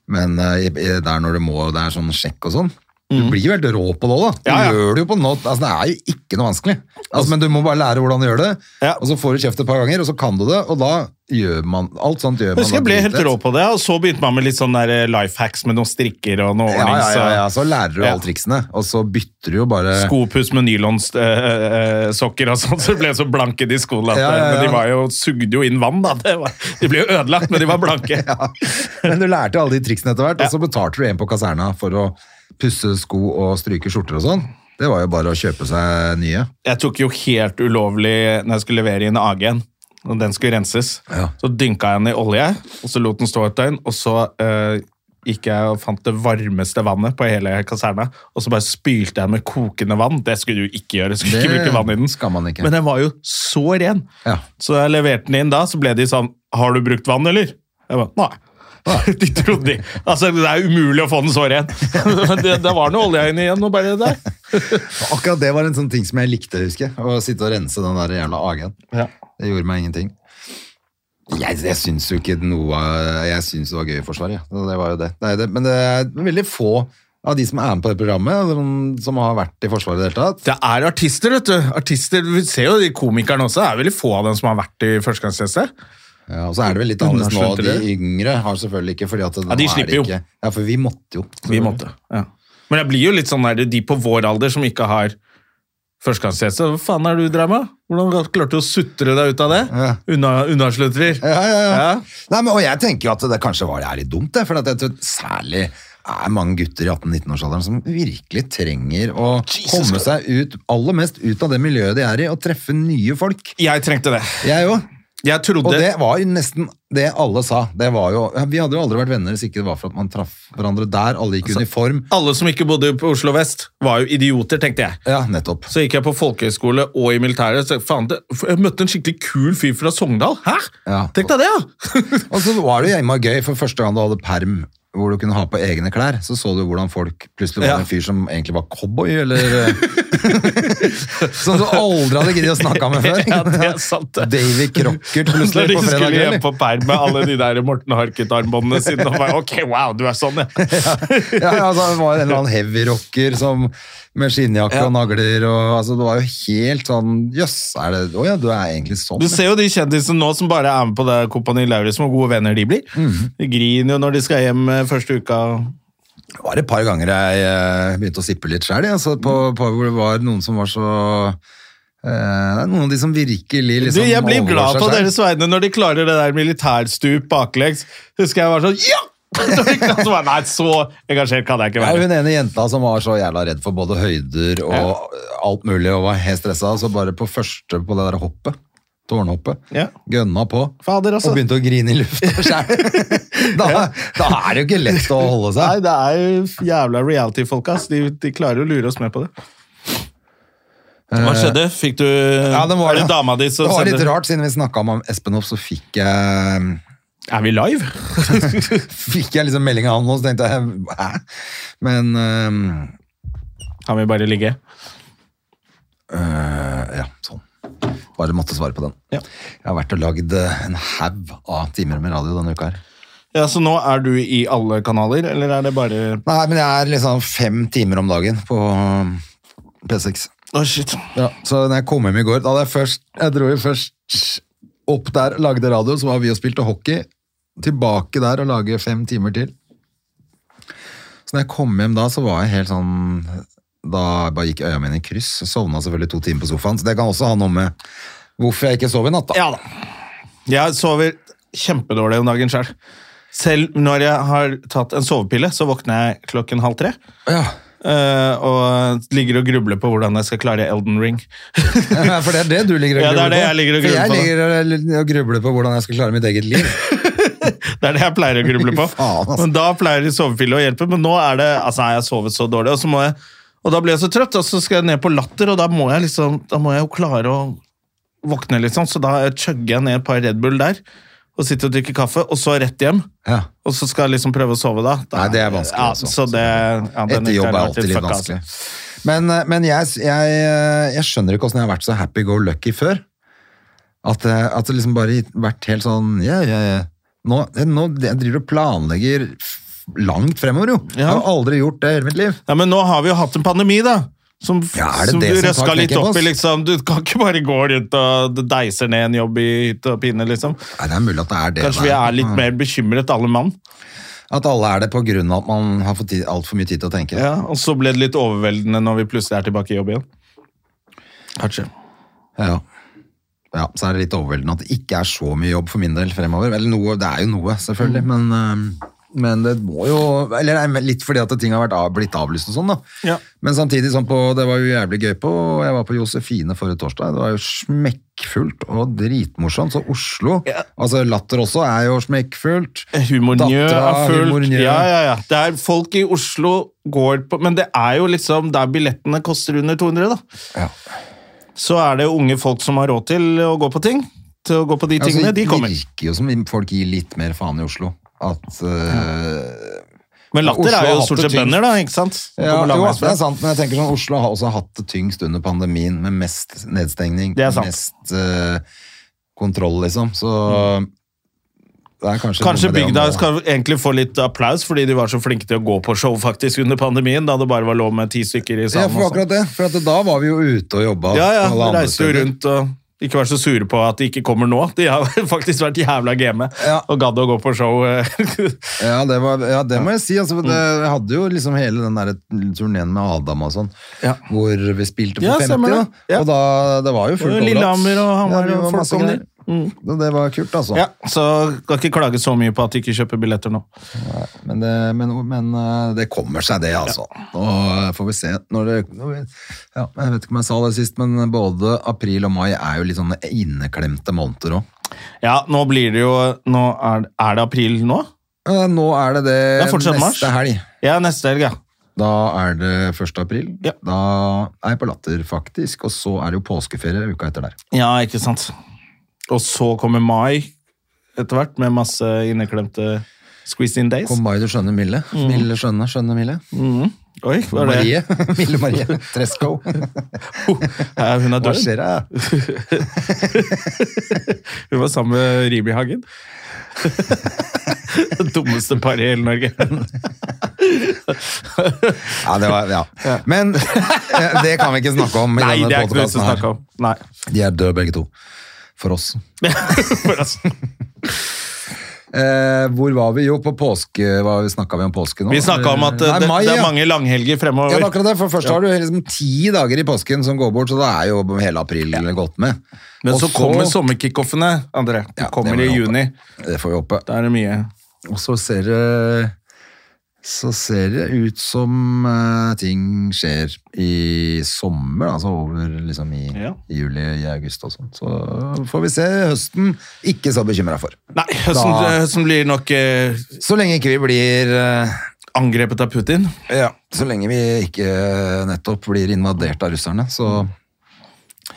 [SPEAKER 1] men eh, i- i- der når du må, og det er sånn sjekk og sånn. Du blir jo helt rå på det òg, da. Du
[SPEAKER 2] Mhm. Ja, ja.
[SPEAKER 1] gjør det jo på nå. Altså, det er jo ikke noe vanskelig. Altså, men du må bare lære hvordan du gjør det,
[SPEAKER 2] Ja.
[SPEAKER 1] og så får du kjeft et par ganger, og så kan du det, og da gjør man alt sånt. gjør man
[SPEAKER 2] Jeg husker jeg
[SPEAKER 1] da
[SPEAKER 2] ble helt
[SPEAKER 1] dritlett.
[SPEAKER 2] rå på det, og så begynte man med litt sånn der life hacks med noen strikker og noe
[SPEAKER 1] Ja,
[SPEAKER 2] ordning.
[SPEAKER 1] ja, ja, ja, så lærer du
[SPEAKER 2] Ja.
[SPEAKER 1] alle triksene, og så bytter du jo bare
[SPEAKER 2] så Skopuss med nylonsokker og sånn, så ble jeg så blanke de skoene. at, eh,
[SPEAKER 1] Ja, ja, ja.
[SPEAKER 2] Men de var jo, sugde jo inn vann, da. Det var, de ble jo ødelagt, men de var
[SPEAKER 1] (laughs)
[SPEAKER 2] blanke.
[SPEAKER 1] Men du lærte jo alle de triksene etter hvert, og så betalte du en på kaserna for å pusse sko og stryke skjorter og sånn. Det var jo bare å kjøpe seg nye.
[SPEAKER 2] Jeg tok jo helt ulovlig når jeg skulle levere inn AG-en. Og den skulle renses.
[SPEAKER 1] Ja.
[SPEAKER 2] Så dynka jeg den i olje, og så lot den stå et døgn. Og så eh, gikk jeg og fant det varmeste vannet på hele kaserna, og så bare spylte jeg med kokende vann. Det skulle du ikke gjøre. skulle
[SPEAKER 1] Det
[SPEAKER 2] ikke bruke vann i den.
[SPEAKER 1] skal man ikke.
[SPEAKER 2] Men den var jo så ren.
[SPEAKER 1] Ja.
[SPEAKER 2] Så da jeg leverte den inn da, så ble de sånn Har du brukt vann, eller? Jeg bare, nei. (laughs) De trodde de. Altså, Det er umulig å få den så
[SPEAKER 1] (laughs)
[SPEAKER 2] ren. (laughs) Men det, det var noe olje inne igjen. og bare der.
[SPEAKER 1] Og Akkurat det var en sånn ting som jeg likte, husker jeg. Å sitte og rense den der jævla agen. Det gjorde meg ingenting. Jeg, jeg syns jo ikke noe av- Jeg syns det var gøy i Forsvaret, ja. Det var jo det. Nei, det. Men det er veldig få av de som er med på det programmet, som- som har vært i Forsvaret i det hele tatt.
[SPEAKER 2] Det er artister, vet du. Artister, Vi ser jo de komikerne også. Det er veldig få av dem som har vært i førstegangstjeneste.
[SPEAKER 1] Ja, og så er det vel litt annerledes nå.
[SPEAKER 2] Underskjønte
[SPEAKER 1] De
[SPEAKER 2] dere?
[SPEAKER 1] yngre har selvfølgelig ikke, fordi at nå
[SPEAKER 2] Ja, de
[SPEAKER 1] er det
[SPEAKER 2] slipper jo.
[SPEAKER 1] Ikke, ja, for vi måtte jo.
[SPEAKER 2] Vi måtte. Ja. Men jeg blir jo litt sånn der, de på vår alder som ikke har førstegangstjeneste. Hva faen er det du drev med? Hvordan klarte du å sutre deg ut av det?
[SPEAKER 1] Ja.
[SPEAKER 2] Unna, Unnasluntrer.
[SPEAKER 1] Ja, ja, ja.
[SPEAKER 2] Ja.
[SPEAKER 1] Nei, men, og jeg tenker jo at det kanskje var det er litt dumt, det, for at jeg tror særlig er mange gutter i 18-19-årsalderen som virkelig trenger å komme seg ut, aller mest ut av det miljøet de er i, og treffe nye folk.
[SPEAKER 2] Jeg trengte det.
[SPEAKER 1] Jeg òg.
[SPEAKER 2] Jeg
[SPEAKER 1] Og
[SPEAKER 2] trodde
[SPEAKER 1] det var jo nesten det alle sa. Det var jo, ja, vi hadde jo aldri vært venner hvis ikke det var for at man traff hverandre der. Alle gikk i uniform.
[SPEAKER 2] Alle som ikke bodde på Oslo vest, var jo idioter, tenkte jeg.
[SPEAKER 1] Ja, nettopp.
[SPEAKER 2] Så gikk jeg på folkehøyskole og i militæret. Så faen, det, jeg møtte en skikkelig kul fyr fra Sogndal. Hæ?
[SPEAKER 1] Ja.
[SPEAKER 2] Tenk deg det, ja!
[SPEAKER 1] Og så var det jo hjemme og gøy, for første gang du hadde perm hvor du kunne ha på egne klær, så så du hvordan folk plutselig var
[SPEAKER 2] Ja.
[SPEAKER 1] en fyr som egentlig var cowboy, eller eh, (laughs) Som du aldri hadde giddet å snakke med før.
[SPEAKER 2] (laughs) Ja, det er sant, det.
[SPEAKER 1] Davy
[SPEAKER 2] (laughs)
[SPEAKER 1] Crockert
[SPEAKER 2] Når
[SPEAKER 1] plutselig
[SPEAKER 2] de
[SPEAKER 1] på fredag
[SPEAKER 2] skulle hjem
[SPEAKER 1] kveld.
[SPEAKER 2] på perm med alle de der Morten Harket-armbåndene sine. Og bare, ok, wow, du er sånn, (laughs) ja.
[SPEAKER 1] Ja, ja, altså, det var en eller annen heavy rocker som, med skinnjakke og nagler og altså, Det var jo helt sånn Jøss, er det Å ja, du er egentlig sånn?
[SPEAKER 2] Du ser jo de kjendisene nå som bare er med på det Kompani Lauritzen, hvor gode venner de blir. De griner jo når de skal hjem eh, første uka.
[SPEAKER 1] Det var et par ganger jeg eh, begynte å sippe litt sjøl, altså, på,
[SPEAKER 2] Mm.
[SPEAKER 1] på hvor det var noen som var så eh, det er Noen av de som virkelig
[SPEAKER 2] Du,
[SPEAKER 1] liksom
[SPEAKER 2] jeg blir
[SPEAKER 1] overgår
[SPEAKER 2] glad
[SPEAKER 1] seg
[SPEAKER 2] på
[SPEAKER 1] selv.
[SPEAKER 2] deres vegne når de klarer det der militærstup baklengs. Husker jeg var sånn Ja! (laughs) Så de kan- så bare, Nei, så engasjert kan jeg ikke
[SPEAKER 1] Det er jo
[SPEAKER 2] være.
[SPEAKER 1] hun ene jenta som var så jævla redd for både høyder og alt mulig, og var helt stressa. Så bare på første på det der hoppet, tårnhoppet,
[SPEAKER 2] Ja.
[SPEAKER 1] gønna på,
[SPEAKER 2] Fader, altså.
[SPEAKER 1] og begynte å grine i
[SPEAKER 2] (laughs)
[SPEAKER 1] lufta sjøl. da, da er det jo ikke lett å holde
[SPEAKER 2] Nei,
[SPEAKER 1] seg.
[SPEAKER 2] det er jo jævla reality-folk, ass. De, de klarer å lure oss med på det. Hva skjedde? Fikk du
[SPEAKER 1] Ja, det var,
[SPEAKER 2] Er Eh, det dama di som
[SPEAKER 1] det var litt
[SPEAKER 2] sendte-
[SPEAKER 1] rart, siden vi snakka om Espen Hoff, så fikk jeg
[SPEAKER 2] Er vi live?
[SPEAKER 1] fikk jeg liksom melding av han, og så tenkte jeg hæ? Men ehm, øhm,
[SPEAKER 2] Kan vi bare ligge?
[SPEAKER 1] øh, ja, eh, sånn. Bare måtte svare på den.
[SPEAKER 2] Ja.
[SPEAKER 1] Jeg har vært og lagd eh, en haug av timer med radio denne uka her.
[SPEAKER 2] Ja, Så nå er du i alle kanaler, eller er det bare
[SPEAKER 1] Nei, men jeg er liksom fem timer om dagen på um, P6.
[SPEAKER 2] Å, shit.
[SPEAKER 1] Ja, så når jeg kom hjem i går, da hadde jeg først Jeg dro jo først opp der, lagde radio, så var vi og spilte hockey. Tilbake der og lage fem timer til. Så når jeg kom hjem da, så var jeg helt sånn Da bare gikk øya mine i kryss. Sovna selvfølgelig to timer på sofaen, så det kan også ha noe med hvorfor jeg ikke sov i natt, da.
[SPEAKER 2] Ja da. Jeg sover kjempedårlig om dagen sjøl. Selv når jeg har tatt en sovepille, så våkner jeg klokken halv tre.
[SPEAKER 1] Ja.
[SPEAKER 2] eh, og ligger og grubler på hvordan jeg skal klare Elden Ring. (laughs)
[SPEAKER 1] (laughs) For det er det du ligger og
[SPEAKER 2] Ja, det er
[SPEAKER 1] grubler
[SPEAKER 2] det
[SPEAKER 1] på.
[SPEAKER 2] jeg ligger
[SPEAKER 1] For jeg ligger og
[SPEAKER 2] og grubler på,
[SPEAKER 1] grubler på hvordan jeg skal klare mitt eget liv.
[SPEAKER 2] Det er det jeg pleier å gruble på.
[SPEAKER 1] Fy faen, altså.
[SPEAKER 2] Men Da pleier sovepille å hjelpe, men nå er det Altså, nei, jeg har sovet så dårlig, og så må jeg Og da blir jeg så trøtt, og så skal jeg ned på latter, og da må jeg liksom Da må jeg jo klare å våkne, liksom, så da chugger jeg ned et par Red Bull der. Og sitter og drikker kaffe, og så rett hjem.
[SPEAKER 1] Ja.
[SPEAKER 2] Og så skal jeg liksom prøve å sove, da. da
[SPEAKER 1] Nei, det er vanskelig, altså.
[SPEAKER 2] Ja, så det, ja, den
[SPEAKER 1] Etter jobb er
[SPEAKER 2] interne
[SPEAKER 1] alltid litt
[SPEAKER 2] fucka, altså.
[SPEAKER 1] vanskelig. Men, eh, men jeg, jeg, eh, jeg skjønner ikke hvordan jeg har vært så happy go lucky før. At, eh, at det liksom bare vært helt sånn ja, ja, ja. Nå, eh, nå jeg driver og planlegger f- langt fremover, jo. Jeg har aldri gjort det i hele mitt liv.
[SPEAKER 2] Ja, men nå har vi jo hatt en pandemi, da. Som,
[SPEAKER 1] Ja, er det
[SPEAKER 2] som
[SPEAKER 1] det
[SPEAKER 2] du
[SPEAKER 1] som tar
[SPEAKER 2] røska litt
[SPEAKER 1] knekken på
[SPEAKER 2] opp i,
[SPEAKER 1] oss?
[SPEAKER 2] liksom. Du kan ikke bare gå rundt og du deiser ned en jobb i hytte og pine, liksom.
[SPEAKER 1] Nei, det er mulig at det er det. Mm.
[SPEAKER 2] Kanskje
[SPEAKER 1] det
[SPEAKER 2] vi er litt mer bekymret, alle mann.
[SPEAKER 1] At alle er det på grunn av at man har fått altfor mye tid til å tenke.
[SPEAKER 2] Ja, og så ble det litt overveldende når vi plutselig er tilbake i jobb igjen. Kanskje.
[SPEAKER 1] Ja. ja, så er det litt overveldende at det ikke er så mye jobb for min del fremover. Eller noe, det er jo noe, selvfølgelig,
[SPEAKER 2] Mm.
[SPEAKER 1] men, øhm, men det må jo Eller det er vel litt fordi at ting har vært av, blitt avlyst og sånn, da.
[SPEAKER 2] Ja.
[SPEAKER 1] Men samtidig, sånn på, det var jo jævlig gøy på Jeg var på Josefine forrige torsdag. Det var jo smekkfullt og dritmorsomt. Så Oslo Altså, Latter også er jo smekkfullt.
[SPEAKER 2] Humornjø er
[SPEAKER 1] Dattera,
[SPEAKER 2] fullt.
[SPEAKER 1] Humornjø.
[SPEAKER 2] Ja, ja, ja. Det er folk i Oslo går på Men det er jo liksom der billettene koster under 200, da.
[SPEAKER 1] Ja.
[SPEAKER 2] Så er det unge folk som har råd til å gå på ting. Til å gå på de
[SPEAKER 1] Altså,
[SPEAKER 2] tingene.
[SPEAKER 1] det
[SPEAKER 2] De kommer.
[SPEAKER 1] virker jo som folk gir litt mer faen i Oslo. At øh,
[SPEAKER 2] Men latter
[SPEAKER 1] Oslo
[SPEAKER 2] er
[SPEAKER 1] har
[SPEAKER 2] jo
[SPEAKER 1] hatt
[SPEAKER 2] stort
[SPEAKER 1] det
[SPEAKER 2] sett
[SPEAKER 1] tyngst.
[SPEAKER 2] bønder, da. ikke sant? Som
[SPEAKER 1] Ja,
[SPEAKER 2] kommer
[SPEAKER 1] jo,
[SPEAKER 2] langveisfra.
[SPEAKER 1] det er sant, men jeg tenker sånn, Oslo har også hatt det tyngst under pandemien, med mest nedstengning,
[SPEAKER 2] Det er sant.
[SPEAKER 1] mest eh, kontroll, liksom. Så det er kanskje,
[SPEAKER 2] Mm. Kanskje
[SPEAKER 1] noe med det
[SPEAKER 2] bygda
[SPEAKER 1] å nå-
[SPEAKER 2] skal egentlig få litt applaus fordi de var så flinke til å gå på show faktisk under pandemien, da det bare var lov med ti stykker i
[SPEAKER 1] Ja,
[SPEAKER 2] salen.
[SPEAKER 1] for
[SPEAKER 2] og sånn.
[SPEAKER 1] akkurat det. For at da var vi jo ute og jobba.
[SPEAKER 2] Ja, ja,
[SPEAKER 1] på alle andre
[SPEAKER 2] reiste jo
[SPEAKER 1] steder.
[SPEAKER 2] rundt og ikke vært så sure på at de ikke kommer nå. De har (laughs) faktisk vært jævla game
[SPEAKER 1] Ja.
[SPEAKER 2] og gadd å gå på show. (laughs) eh.
[SPEAKER 1] Ja, det, var, ja, det må jeg si. Altså, det,
[SPEAKER 2] Mm.
[SPEAKER 1] jeg hadde jo liksom hele den der turneen med Adam og sånn,
[SPEAKER 2] Ja.
[SPEAKER 1] hvor vi spilte for
[SPEAKER 2] Ja,
[SPEAKER 1] 50,
[SPEAKER 2] stemmer
[SPEAKER 1] da.
[SPEAKER 2] det. Ja.
[SPEAKER 1] Og da, det var jo fullt
[SPEAKER 2] Og Lillehammer og Hamar
[SPEAKER 1] det
[SPEAKER 2] og
[SPEAKER 1] var
[SPEAKER 2] folk
[SPEAKER 1] masse
[SPEAKER 2] kom
[SPEAKER 1] greier.
[SPEAKER 2] dit.
[SPEAKER 1] Og Det var kult, altså.
[SPEAKER 2] ja, så kan ikke klage så mye på at de ikke kjøper billetter nå.
[SPEAKER 1] Men det, men, men eh, det kommer seg, det, altså. Nå får vi se. Når det, når vi, ja, jeg vet ikke om jeg sa det sist, men både april og mai er jo litt sånne inneklemte måneder òg.
[SPEAKER 2] Ja, nå blir det jo nå er, er det april nå?
[SPEAKER 1] Eh, Nå er det det,
[SPEAKER 2] Det er fortsatt
[SPEAKER 1] neste
[SPEAKER 2] mars.
[SPEAKER 1] helg.
[SPEAKER 2] Ja, neste helg, ja.
[SPEAKER 1] Da er det 1. april.
[SPEAKER 2] Ja.
[SPEAKER 1] Da er jeg på Latter, faktisk. Og så er det jo påskeferie uka etter der.
[SPEAKER 2] Ja, ikke sant. Og så kommer mai etter hvert, med masse inneklemte squeeze in days.
[SPEAKER 1] Kom mai, du skjønner Mille. Mille skjønne, skjønne Mille.
[SPEAKER 2] Oi, hva er Mm. det?
[SPEAKER 1] Marie. (laughs) Mille Marie Tresko.
[SPEAKER 2] (laughs) Ja, hun er
[SPEAKER 1] Hva
[SPEAKER 2] død.
[SPEAKER 1] skjer da?
[SPEAKER 2] Hun var sammen med Ribi Hagen. (laughs) Det dummeste paret i hele Norge.
[SPEAKER 1] (laughs) Ja, det var, ja. Men eh, det kan vi ikke snakke om i
[SPEAKER 2] Nei, det
[SPEAKER 1] denne
[SPEAKER 2] er ikke noe å
[SPEAKER 1] podkasten her.
[SPEAKER 2] snakke om. Nei.
[SPEAKER 1] De er døde begge to. For oss.
[SPEAKER 2] For oss.
[SPEAKER 1] Eh, hvor var vi? Jo, på påske Hva snakka vi om påske nå?
[SPEAKER 2] (laughs) Vi snakka om at eh,
[SPEAKER 1] Nei,
[SPEAKER 2] det,
[SPEAKER 1] mai,
[SPEAKER 2] det er
[SPEAKER 1] ja.
[SPEAKER 2] mange
[SPEAKER 1] Ja, det
[SPEAKER 2] langhelger
[SPEAKER 1] er
[SPEAKER 2] fremover.
[SPEAKER 1] akkurat det. For først har du liksom ti dager i påsken som går bort, så da er jo hele april gått med.
[SPEAKER 2] Men
[SPEAKER 1] Og
[SPEAKER 2] så kommer sommerkickoffene, André.
[SPEAKER 1] Ja,
[SPEAKER 2] De
[SPEAKER 1] det
[SPEAKER 2] kommer
[SPEAKER 1] må
[SPEAKER 2] i
[SPEAKER 1] vi håpe.
[SPEAKER 2] juni.
[SPEAKER 1] Det får vi håpe.
[SPEAKER 2] Da er det mye.
[SPEAKER 1] Og så ser det så ser det ut som eh, ting skjer i sommer, da, altså over liksom i,
[SPEAKER 2] Ja.
[SPEAKER 1] i juli, i august og sånn. Så får vi se høsten. Ikke så bekymra for.
[SPEAKER 2] Nei, høsten,
[SPEAKER 1] Da-
[SPEAKER 2] høsten blir nok eh,
[SPEAKER 1] Så lenge ikke vi blir eh,
[SPEAKER 2] angrepet av Putin.
[SPEAKER 1] Ja, så lenge vi ikke eh, nettopp blir invadert av russerne, så
[SPEAKER 2] Mm.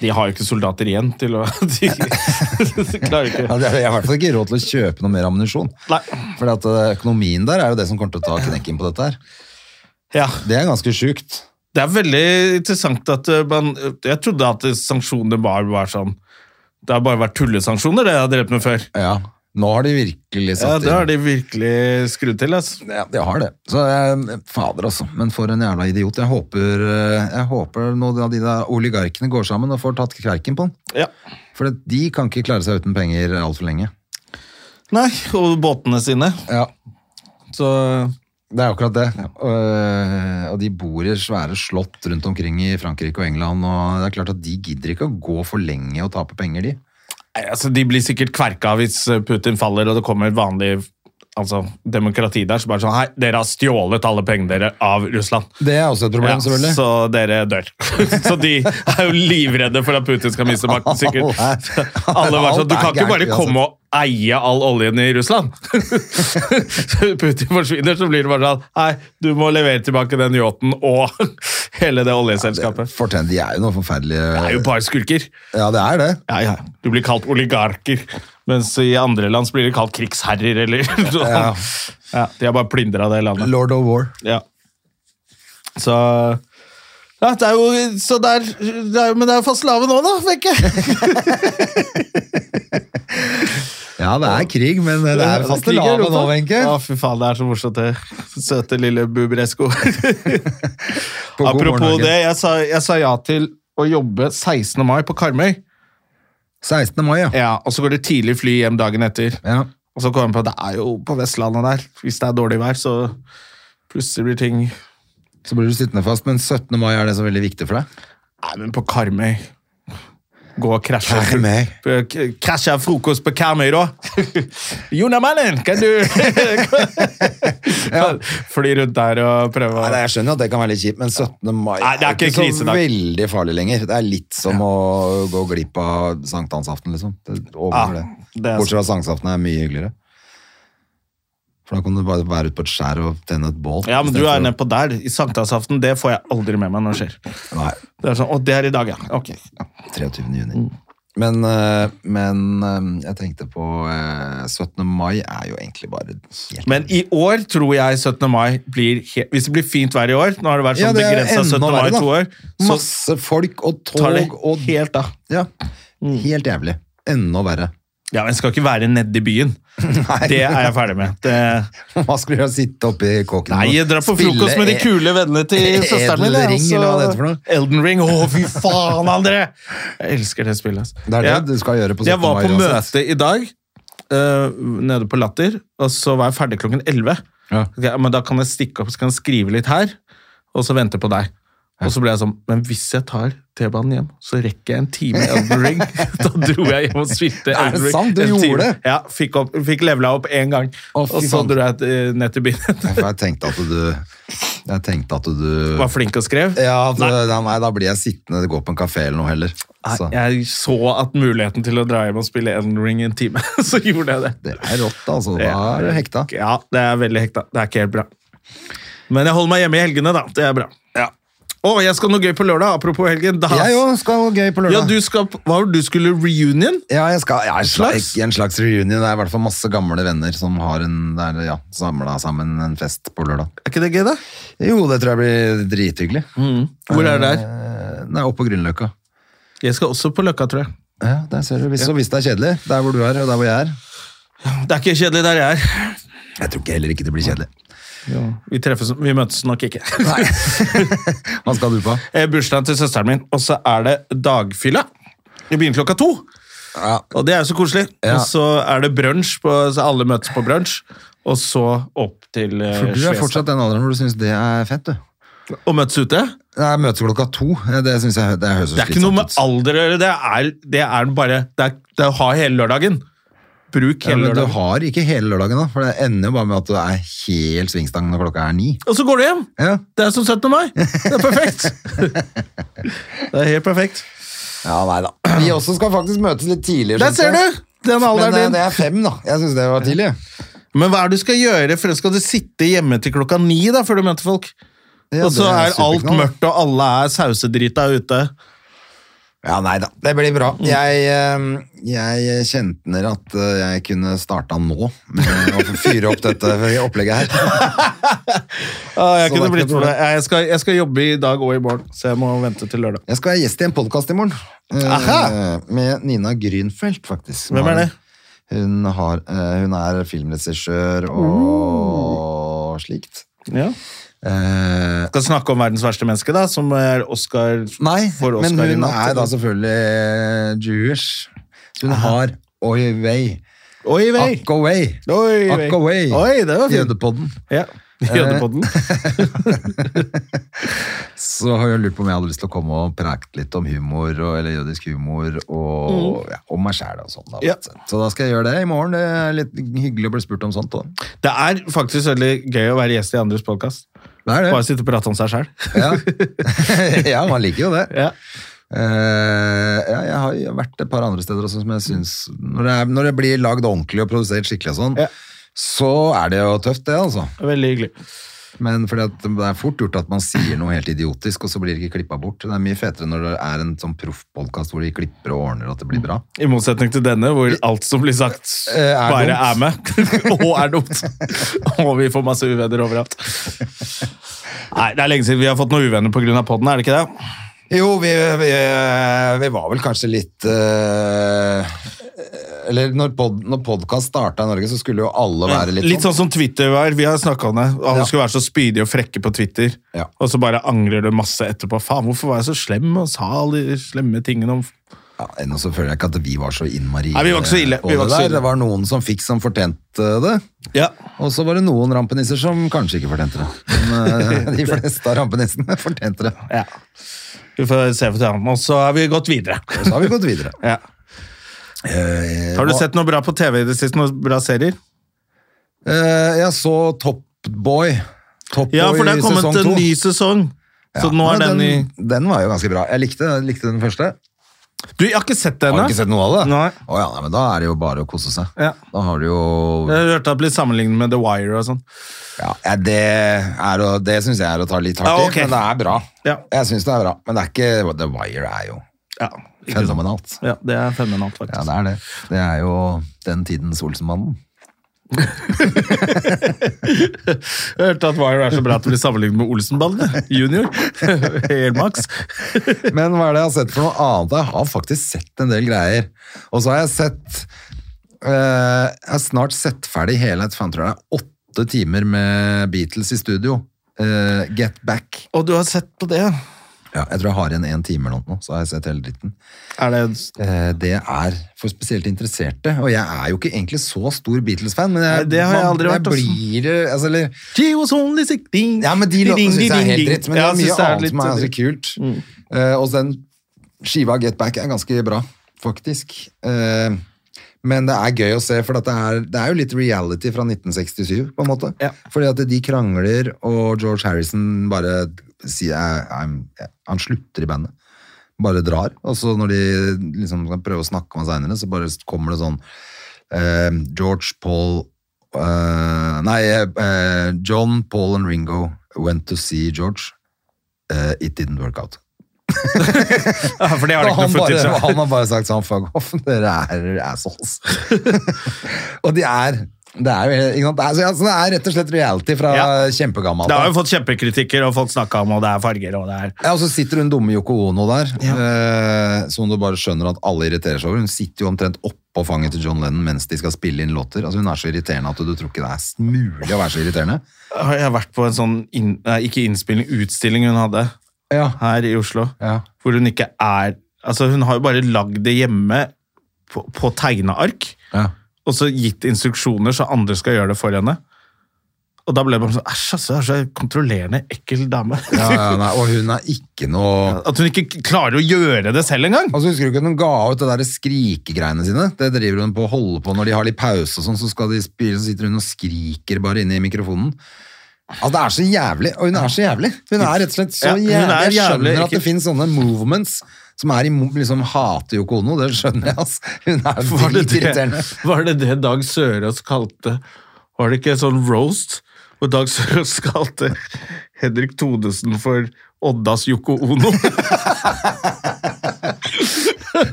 [SPEAKER 2] De har jo ikke soldater igjen til å (laughs) De, de klarer
[SPEAKER 1] ja,
[SPEAKER 2] ikke.
[SPEAKER 1] det er- Jeg har i hvert fall ikke råd til å kjøpe noe mer ammunisjon.
[SPEAKER 2] Nei.
[SPEAKER 1] For eh, økonomien der er jo det som kommer til å ta knekken på dette her.
[SPEAKER 2] Ja.
[SPEAKER 1] Det er ganske sjukt.
[SPEAKER 2] Det er veldig interessant at eh, man Jeg trodde at sanksjoner var, var sånn Det har bare vært tullesanksjoner, det jeg har drevet med før.
[SPEAKER 1] Ja, nå har de virkelig
[SPEAKER 2] Ja,
[SPEAKER 1] satt
[SPEAKER 2] Det har de virkelig skrudd til. altså. ass.
[SPEAKER 1] Ja, de har det. Så eh, fader, altså. Men for en jævla idiot. Jeg håper, eh, jeg håper noen av de der oligarkene går sammen og får tatt kverken på den.
[SPEAKER 2] Ja.
[SPEAKER 1] For de kan ikke klare seg uten penger altfor lenge.
[SPEAKER 2] Nei, og båtene sine.
[SPEAKER 1] Ja,
[SPEAKER 2] Så
[SPEAKER 1] det er akkurat det. Eh, Og de bor i svære slott rundt omkring i Frankrike og England, og det er klart at de gidder ikke å gå for lenge og tape penger, de.
[SPEAKER 2] Nei, altså, De blir sikkert kverka hvis eh, Putin faller og det kommer vanlig altså, demokrati der. Så bare sånn Hei, dere har stjålet alle pengene dere av Russland.
[SPEAKER 1] Det er også et problem, selvfølgelig.
[SPEAKER 2] så dere dør. (laughs) så de er jo livredde for at Putin skal miste makten, sikkert. Alle var sånn, Du kan ikke bare komme
[SPEAKER 1] altså.»
[SPEAKER 2] og eie all oljen i Russland! (laughs) Så Putin forsvinner, så blir det bare sånn Nei, du må levere tilbake den yachten og (laughs) hele det oljeselskapet.
[SPEAKER 1] Fortell, de er jo noen forferdelige
[SPEAKER 2] Det er jo bare skurker.
[SPEAKER 1] Ja, det er det.
[SPEAKER 2] Ja, ja. Du blir kalt oligarker, mens i andre land så blir de kalt krigsherrer, eller (laughs) sånn.
[SPEAKER 1] Ja.
[SPEAKER 2] Ja, de har bare plyndra det landet.
[SPEAKER 1] Lord of War.
[SPEAKER 2] Ja. Så ja, det er jo, så det er, det er, Men det er jo fastelavn nå, da, Bekke!
[SPEAKER 1] Ja, det er krig, men (laughs) det er fastelavn nå, Wenche.
[SPEAKER 2] Ja, fy faen, det er så morsomt, det. Søte lille Buberesko.
[SPEAKER 1] På God morgen,
[SPEAKER 2] (laughs) Apropos
[SPEAKER 1] Norge.
[SPEAKER 2] det, jeg sa, jeg sa ja til å jobbe 16. mai på Karmøy.
[SPEAKER 1] 16. mai, ja.
[SPEAKER 2] Ja, Og så går det tidlig fly hjem dagen etter.
[SPEAKER 1] ja.
[SPEAKER 2] Og så kommer jeg på at det er jo på Vestlandet der. Hvis det er dårlig vær, så plutselig blir ting Nei,
[SPEAKER 1] Så blir du sittende fast, men 17. mai er det så veldig viktig for deg?
[SPEAKER 2] men på Karmøy Gå og krasje.
[SPEAKER 1] Karmøy.
[SPEAKER 2] K- Krasje frokost på Karmøy,
[SPEAKER 1] (laughs)
[SPEAKER 2] da. Jona Mannen, kan du Fly rundt der og prøve å
[SPEAKER 1] jeg skjønner at det kan være litt kjipt, men 17. mai
[SPEAKER 2] Nei, det er ikke
[SPEAKER 1] så
[SPEAKER 2] krisedag.
[SPEAKER 1] veldig farlig lenger. Det er litt som å gå glipp av sankthansaften, liksom. Det
[SPEAKER 2] Ja,
[SPEAKER 1] overgår det.
[SPEAKER 2] det er
[SPEAKER 1] Bortsett fra at sankthansaften er mye hyggeligere. For da kan du bare være ute på et skjær og tenne et bål.
[SPEAKER 2] Ja, men du
[SPEAKER 1] istedenfor
[SPEAKER 2] er
[SPEAKER 1] å-
[SPEAKER 2] nedpå der. I sankthansaften, det får jeg aldri med meg når det skjer.
[SPEAKER 1] Nei,
[SPEAKER 2] Det er sånn, Å, det er i dag, ja. Ok.
[SPEAKER 1] 23. juni.
[SPEAKER 2] Mm.
[SPEAKER 1] Men, eh, men eh, jeg tenkte på eh, 17. mai er jo egentlig bare helt
[SPEAKER 2] Men i år tror jeg 17. mai blir he- Hvis det blir fint vær i år Nå har det vært sånn
[SPEAKER 1] det er
[SPEAKER 2] begrensa
[SPEAKER 1] enda
[SPEAKER 2] 17. mai
[SPEAKER 1] verre,
[SPEAKER 2] i
[SPEAKER 1] da.
[SPEAKER 2] to år. Så
[SPEAKER 1] Masse folk og tog
[SPEAKER 2] tar det
[SPEAKER 1] og
[SPEAKER 2] helt av. Mm.
[SPEAKER 1] Ja. Helt jævlig. Enda verre. (laughs)
[SPEAKER 2] Ja, men jeg skal ikke være nedi byen. Det er jeg ferdig med. Det...
[SPEAKER 1] Hva skulle jeg sitte oppi kåken
[SPEAKER 2] eh,
[SPEAKER 1] E-
[SPEAKER 2] Nei, jeg drar på frokost med de kule vennene til søsteren
[SPEAKER 1] Elden
[SPEAKER 2] min. jeg,
[SPEAKER 1] Ring,
[SPEAKER 2] altså.
[SPEAKER 1] eller hva det heter for noe?
[SPEAKER 2] Elden Ring. Å, fy faen, André! Jeg elsker det spillet. altså.
[SPEAKER 1] Det er det
[SPEAKER 2] Jeg-
[SPEAKER 1] du skal gjøre på 17.
[SPEAKER 2] Jeg var
[SPEAKER 1] mai
[SPEAKER 2] på
[SPEAKER 1] uansett.
[SPEAKER 2] møte i dag, eh, nede på Latter, og så var jeg ferdig klokken 11.
[SPEAKER 1] Ja.
[SPEAKER 2] Ok, men da kan jeg stikke opp, så kan jeg skrive litt her, og så vente på deg. Og så ble jeg sånn, men hvis jeg tar T-banen hjem, så rekker jeg en time Elden
[SPEAKER 1] (laughs)
[SPEAKER 2] Ring. da dro jeg hjem og spilte
[SPEAKER 1] Er det
[SPEAKER 2] Elden Ring.
[SPEAKER 1] sant? Du
[SPEAKER 2] en time.
[SPEAKER 1] gjorde det?
[SPEAKER 2] Ja, fikk, opp, fikk levela opp én gang,
[SPEAKER 1] Å, fy
[SPEAKER 2] og så
[SPEAKER 1] faen.
[SPEAKER 2] dro jeg eh, ned til byen. (laughs)
[SPEAKER 1] For jeg tenkte at du Jeg tenkte at du
[SPEAKER 2] Var flink og skrev.
[SPEAKER 1] ja, at, nei. nei, da blir jeg sittende og gå på en kafé eller noe heller. Så,
[SPEAKER 2] Nei, Jeg så at muligheten til å dra hjem og spille Elden Ring i en time, (laughs) så gjorde jeg det.
[SPEAKER 1] det er rått, altså. Da er du hekta.
[SPEAKER 2] Ja, det er veldig hekta. Det er ikke helt bra. Men jeg holder meg hjemme i helgene, da. Det er bra. Ja. Å, jeg skal noe gøy på lørdag, apropos helgen. Da.
[SPEAKER 1] Jeg òg skal ha gøy på
[SPEAKER 2] Ja,
[SPEAKER 1] lørdag.
[SPEAKER 2] du skal, hva var det du skulle reunion?
[SPEAKER 1] Ja, jeg skal, ja, en, slags,
[SPEAKER 2] Slags?
[SPEAKER 1] en slags reunion. Det er i hvert fall masse gamle venner som har en, det er, ja, samla sammen en fest på lørdag.
[SPEAKER 2] Er ikke det gøy, da?
[SPEAKER 1] Jo, det tror jeg blir drithyggelig.
[SPEAKER 2] Mm. Hvor er det der?
[SPEAKER 1] Eh, Nei, opp på Grünerløkka.
[SPEAKER 2] Jeg skal også på Løkka, tror jeg.
[SPEAKER 1] Ja, der ser du. Hvis, så hvis det er kjedelig, der hvor du er og der hvor jeg er
[SPEAKER 2] Det er ikke kjedelig der jeg er.
[SPEAKER 1] Jeg tror ikke heller ikke det blir kjedelig.
[SPEAKER 2] Vi, treffes, vi møtes nok ikke. (laughs)
[SPEAKER 1] Hva skal du på?
[SPEAKER 2] Eh, Bursdagen til søsteren min, og så er det dagfylla. Det begynner klokka to.
[SPEAKER 1] Ja.
[SPEAKER 2] Og det er jo så koselig.
[SPEAKER 1] Ja.
[SPEAKER 2] Og så er det brunsj, på- så alle møtes på brunsj. Og så opp til eh,
[SPEAKER 1] For du er
[SPEAKER 2] Slesvig.
[SPEAKER 1] fortsatt den alderen hvor du syns det er fett, du.
[SPEAKER 2] Og møtes ute.
[SPEAKER 1] Nei, møtes klokka to. Det syns jeg det høres
[SPEAKER 2] Det er ikke noe med alder å gjøre, det er, det er bare det er, det er å ha hele lørdagen. Bruk
[SPEAKER 1] Ja,
[SPEAKER 2] hele
[SPEAKER 1] men du
[SPEAKER 2] lørdagen.
[SPEAKER 1] har ikke hele lørdagen, da. For det ender jo bare med at du er helt svingstang når klokka er ni.
[SPEAKER 2] Og så går du hjem!
[SPEAKER 1] Ja,
[SPEAKER 2] Det er som 17. mai! Det er perfekt! (laughs) det er helt perfekt.
[SPEAKER 1] ja nei da. Vi også skal faktisk møtes litt tidligere.
[SPEAKER 2] Der
[SPEAKER 1] synes
[SPEAKER 2] ser
[SPEAKER 1] jeg.
[SPEAKER 2] du! Den
[SPEAKER 1] Men eh,
[SPEAKER 2] alderen
[SPEAKER 1] det
[SPEAKER 2] din.
[SPEAKER 1] er fem, da. Jeg syns det var tidlig.
[SPEAKER 2] Men hva er det du skal gjøre? For skal du sitte hjemme til klokka ni da, før du møter folk?
[SPEAKER 1] Ja,
[SPEAKER 2] og så
[SPEAKER 1] det
[SPEAKER 2] er alt
[SPEAKER 1] superknall.
[SPEAKER 2] mørkt, og alle er sausedrita ute.
[SPEAKER 1] Ja, nei da. Det blir bra.
[SPEAKER 2] Mm.
[SPEAKER 1] Jeg, eh, jeg kjenner at eh, jeg kunne starta nå med å fyre opp dette opplegget her.
[SPEAKER 2] Ah, jeg
[SPEAKER 1] Så det er
[SPEAKER 2] kunne
[SPEAKER 1] ikke noe
[SPEAKER 2] blitt for det.
[SPEAKER 1] problem.
[SPEAKER 2] Jeg skal, jeg skal jobbe i dag og i morgen, så jeg må vente til lørdag.
[SPEAKER 1] Jeg skal være gjest i en podkast i morgen. eh,
[SPEAKER 2] Aha!
[SPEAKER 1] Med Nina Grünfeldt, faktisk.
[SPEAKER 2] Hvem er det?
[SPEAKER 1] Hun, har, eh, hun er filmregissør og slikt.
[SPEAKER 2] Ja.
[SPEAKER 1] Eh,
[SPEAKER 2] Skal snakke om verdens verste menneske, da, som er Oscar
[SPEAKER 1] Nei,
[SPEAKER 2] for Oscar
[SPEAKER 1] men
[SPEAKER 2] i
[SPEAKER 1] hun
[SPEAKER 2] natt.
[SPEAKER 1] er da selvfølgelig Jewish. Så hun har Oi Vei.
[SPEAKER 2] Oi, vei!
[SPEAKER 1] Akk og vei.
[SPEAKER 2] Oi, vei.
[SPEAKER 1] Akk og vei.
[SPEAKER 2] Oi, det var fint.
[SPEAKER 1] Jødepodden.
[SPEAKER 2] (laughs) Ja. Jødepodden.
[SPEAKER 1] Så har jeg lurt på om jeg hadde lyst til å komme og prate litt om humor, og, eller jødisk humor, og ja, om meg sjæl og sånn. da,
[SPEAKER 2] Ja.
[SPEAKER 1] rett og slett. Så da skal jeg gjøre det i morgen. Det er litt hyggelig å bli spurt om sånt. Da.
[SPEAKER 2] Det er faktisk veldig gøy å være gjest i andres podkast.
[SPEAKER 1] Det er
[SPEAKER 2] Bare
[SPEAKER 1] det.
[SPEAKER 2] sitte og prate om seg sjæl.
[SPEAKER 1] Ja. (laughs) ja, man liker jo det.
[SPEAKER 2] Ja.
[SPEAKER 1] Eh, ja, jeg har jo vært et par andre steder også, som jeg synes når, det er, når det blir lagd ordentlig og produsert skikkelig og sånn,
[SPEAKER 2] Ja.
[SPEAKER 1] så er det jo tøft, det, altså.
[SPEAKER 2] (laughs) Veldig hyggelig.
[SPEAKER 1] Men fordi at det er fort gjort at man sier noe helt idiotisk, og så blir det ikke klippa bort. Det er mye fetere når det er en sånn proffpodkast hvor de klipper og ordner og at det blir bra.
[SPEAKER 2] I motsetning til denne, hvor alt som blir sagt,
[SPEAKER 1] Eh, er
[SPEAKER 2] bare
[SPEAKER 1] dumt.
[SPEAKER 2] er
[SPEAKER 1] (laughs)
[SPEAKER 2] med. og er dumt. og vi får masse uvenner overalt. Nei, Det er lenge siden vi har fått noen uvenner pga. podden, er det ikke det?
[SPEAKER 1] Jo, vi, vi, vi var vel kanskje litt eh, Eller når, pod, når podkast starta i Norge, så skulle jo alle være litt,
[SPEAKER 2] sånn som Twitter var. Vi har snakka om det. Alle
[SPEAKER 1] Ja.
[SPEAKER 2] skulle være så spydige og frekke på Twitter,
[SPEAKER 1] Ja.
[SPEAKER 2] og så bare angrer du masse etterpå. Faen, hvorfor var jeg så slem og sa alle de slemme tingene om
[SPEAKER 1] Ja, ennå så føler jeg ikke at vi var så innmari
[SPEAKER 2] Nei, vi var ikke så ille.
[SPEAKER 1] på
[SPEAKER 2] Vi
[SPEAKER 1] det
[SPEAKER 2] var ikke så
[SPEAKER 1] der.
[SPEAKER 2] ille.
[SPEAKER 1] Det var noen som fikk som fortjente det,
[SPEAKER 2] Ja.
[SPEAKER 1] og så var det noen rampenisser som kanskje ikke fortjente det. Men
[SPEAKER 2] (laughs)
[SPEAKER 1] eh, de fleste av rampenissene fortjente det.
[SPEAKER 2] ja. Vi får se for hverandre. Og så har vi gått videre.
[SPEAKER 1] Og så har vi gått videre.
[SPEAKER 2] ja.
[SPEAKER 1] Eh,
[SPEAKER 2] Har du
[SPEAKER 1] og-
[SPEAKER 2] sett noe bra på TV i det siste? Noen bra serier?
[SPEAKER 1] Eh, jeg så Top Boy. Top
[SPEAKER 2] Ja,
[SPEAKER 1] Boy
[SPEAKER 2] for det har kommet
[SPEAKER 1] sesong
[SPEAKER 2] en
[SPEAKER 1] to.
[SPEAKER 2] ny sesong. Så
[SPEAKER 1] Ja,
[SPEAKER 2] nå er
[SPEAKER 1] men
[SPEAKER 2] den, i
[SPEAKER 1] Den var jo ganske bra. Jeg likte, likte den første.
[SPEAKER 2] Du, jeg har ikke sett det
[SPEAKER 1] Har
[SPEAKER 2] ennå.
[SPEAKER 1] du ikke sett noe av det?
[SPEAKER 2] Nei.
[SPEAKER 1] Å ja, nei, men da er det jo bare å kose seg.
[SPEAKER 2] Ja.
[SPEAKER 1] Da har du jo
[SPEAKER 2] Jeg har hørt at det blir sammenlignet med The Wire og sånn.
[SPEAKER 1] ja, ja, Det, er å- det syns jeg er å ta litt hardt i,
[SPEAKER 2] Ja, ok.
[SPEAKER 1] men det er bra.
[SPEAKER 2] Ja.
[SPEAKER 1] Jeg syns det er bra, men det er ikke The Wire er jo
[SPEAKER 2] Ja, ikke sant.
[SPEAKER 1] fenomenalt.
[SPEAKER 2] ja, det er fenomenalt,
[SPEAKER 1] Ja,
[SPEAKER 2] faktisk.
[SPEAKER 1] det er det. Det er jo den tidens Olsenmannen.
[SPEAKER 2] Jeg har hørt at Wire er så bra at det blir sammenlignet med Olsenbanden (laughs) junior.
[SPEAKER 1] (laughs)
[SPEAKER 2] Helmaks.
[SPEAKER 1] Men hva er det jeg har sett for noe annet? Jeg har faktisk sett en del greier. Og så har jeg sett eh, Jeg har snart sett ferdig hele et faen, tror jeg det er åtte timer med Beatles i studio. Eh, Get Back.
[SPEAKER 2] Og du har sett på det?
[SPEAKER 1] Ja, jeg tror jeg har igjen én time eller noe, så har jeg sett hele dritten.
[SPEAKER 2] Er det
[SPEAKER 1] Eh, det er for spesielt interesserte, og jeg er jo ikke egentlig så stor Beatles-fan, men jeg,
[SPEAKER 2] Nei, det har jeg aldri vært, altså.
[SPEAKER 1] blir det altså, eller,
[SPEAKER 2] She was only 16.
[SPEAKER 1] Ja, men de låtene syns jeg er helt dritt, men det
[SPEAKER 2] Ja,
[SPEAKER 1] er
[SPEAKER 2] jeg
[SPEAKER 1] mye
[SPEAKER 2] synes det er
[SPEAKER 1] annet som er ganske
[SPEAKER 2] litt-
[SPEAKER 1] kult. Eh, og den skiva Get Back er ganske bra, faktisk. Eh, men det er gøy å se, for at det, er, det er jo litt reality fra 1967, på en måte.
[SPEAKER 2] Ja.
[SPEAKER 1] Fordi at de krangler, og George Harrison bare sier I'm, Han slutter i bandet. Bare drar. Og så når de liksom skal prøve å snakke med han seinere, så bare kommer det sånn eh, George, Paul eh, Nei, eh, John, Paul and Ringo went to see George. Eh, it didn't work out.
[SPEAKER 2] Ja, for det har de
[SPEAKER 1] (laughs)
[SPEAKER 2] ikke
[SPEAKER 1] han,
[SPEAKER 2] noe footage
[SPEAKER 1] bare,
[SPEAKER 2] av.
[SPEAKER 1] han har bare sagt sånn, fuck off, dere er
[SPEAKER 2] (laughs)
[SPEAKER 1] assholes. og de er det er, jo, ikke sant? Det, er, så- altså, det er rett og slett reality fra
[SPEAKER 2] Ja.
[SPEAKER 1] kjempegammelt.
[SPEAKER 2] Det har
[SPEAKER 1] av.
[SPEAKER 2] jo fått kjempekritikker, og folk snakka om og det er farger og det er
[SPEAKER 1] Ja, og så sitter hun dumme Yoko Ono der, eh, som du bare skjønner at alle irriterer seg over. Hun sitter jo omtrent oppå fanget til John Lennon mens de skal spille inn låter. Altså, hun er så irriterende at du tror ikke det er mulig å være så irriterende.
[SPEAKER 2] Har jeg vært på en sånn inn, nei, ikke innspilling, utstilling hun hadde
[SPEAKER 1] Ja.
[SPEAKER 2] her i Oslo.
[SPEAKER 1] Ja.
[SPEAKER 2] Hvor hun ikke er Altså, hun har jo bare lagd det hjemme på, på tegneark,
[SPEAKER 1] Ja.
[SPEAKER 2] og så gitt instruksjoner så andre skal gjøre det for henne. Og da ble det bare sånn Æsj, altså, det er så kontrollerende, ekkel dame.
[SPEAKER 1] Ja, ja, nei, og hun er ikke noe
[SPEAKER 2] (laughs) At hun ikke klarer å gjøre det selv engang!
[SPEAKER 1] Altså, husker du ikke at hun ga ut det der skrikegreiene sine? Det driver hun på å holde på når de har litt pause og sånn, så skal de spille, så sitter hun og skriker bare inne i mikrofonen. Altså, det er så jævlig, og hun er så jævlig. Hun er rett og slett så
[SPEAKER 2] Ja, hun
[SPEAKER 1] jævlig.
[SPEAKER 2] er
[SPEAKER 1] Jeg
[SPEAKER 2] jævlig,
[SPEAKER 1] skjønner
[SPEAKER 2] ikke-
[SPEAKER 1] at det finnes sånne movements som er imot, liksom hater Yoko Ono, det skjønner jeg, altså. Hun er
[SPEAKER 2] Var det det,
[SPEAKER 1] dritirriterende.
[SPEAKER 2] var det det Dag Sørås kalte Var det ikke en sånn roast? Og Dag Sørås kalte (laughs) Henrik Thodesen for Oddas Yoko Ono.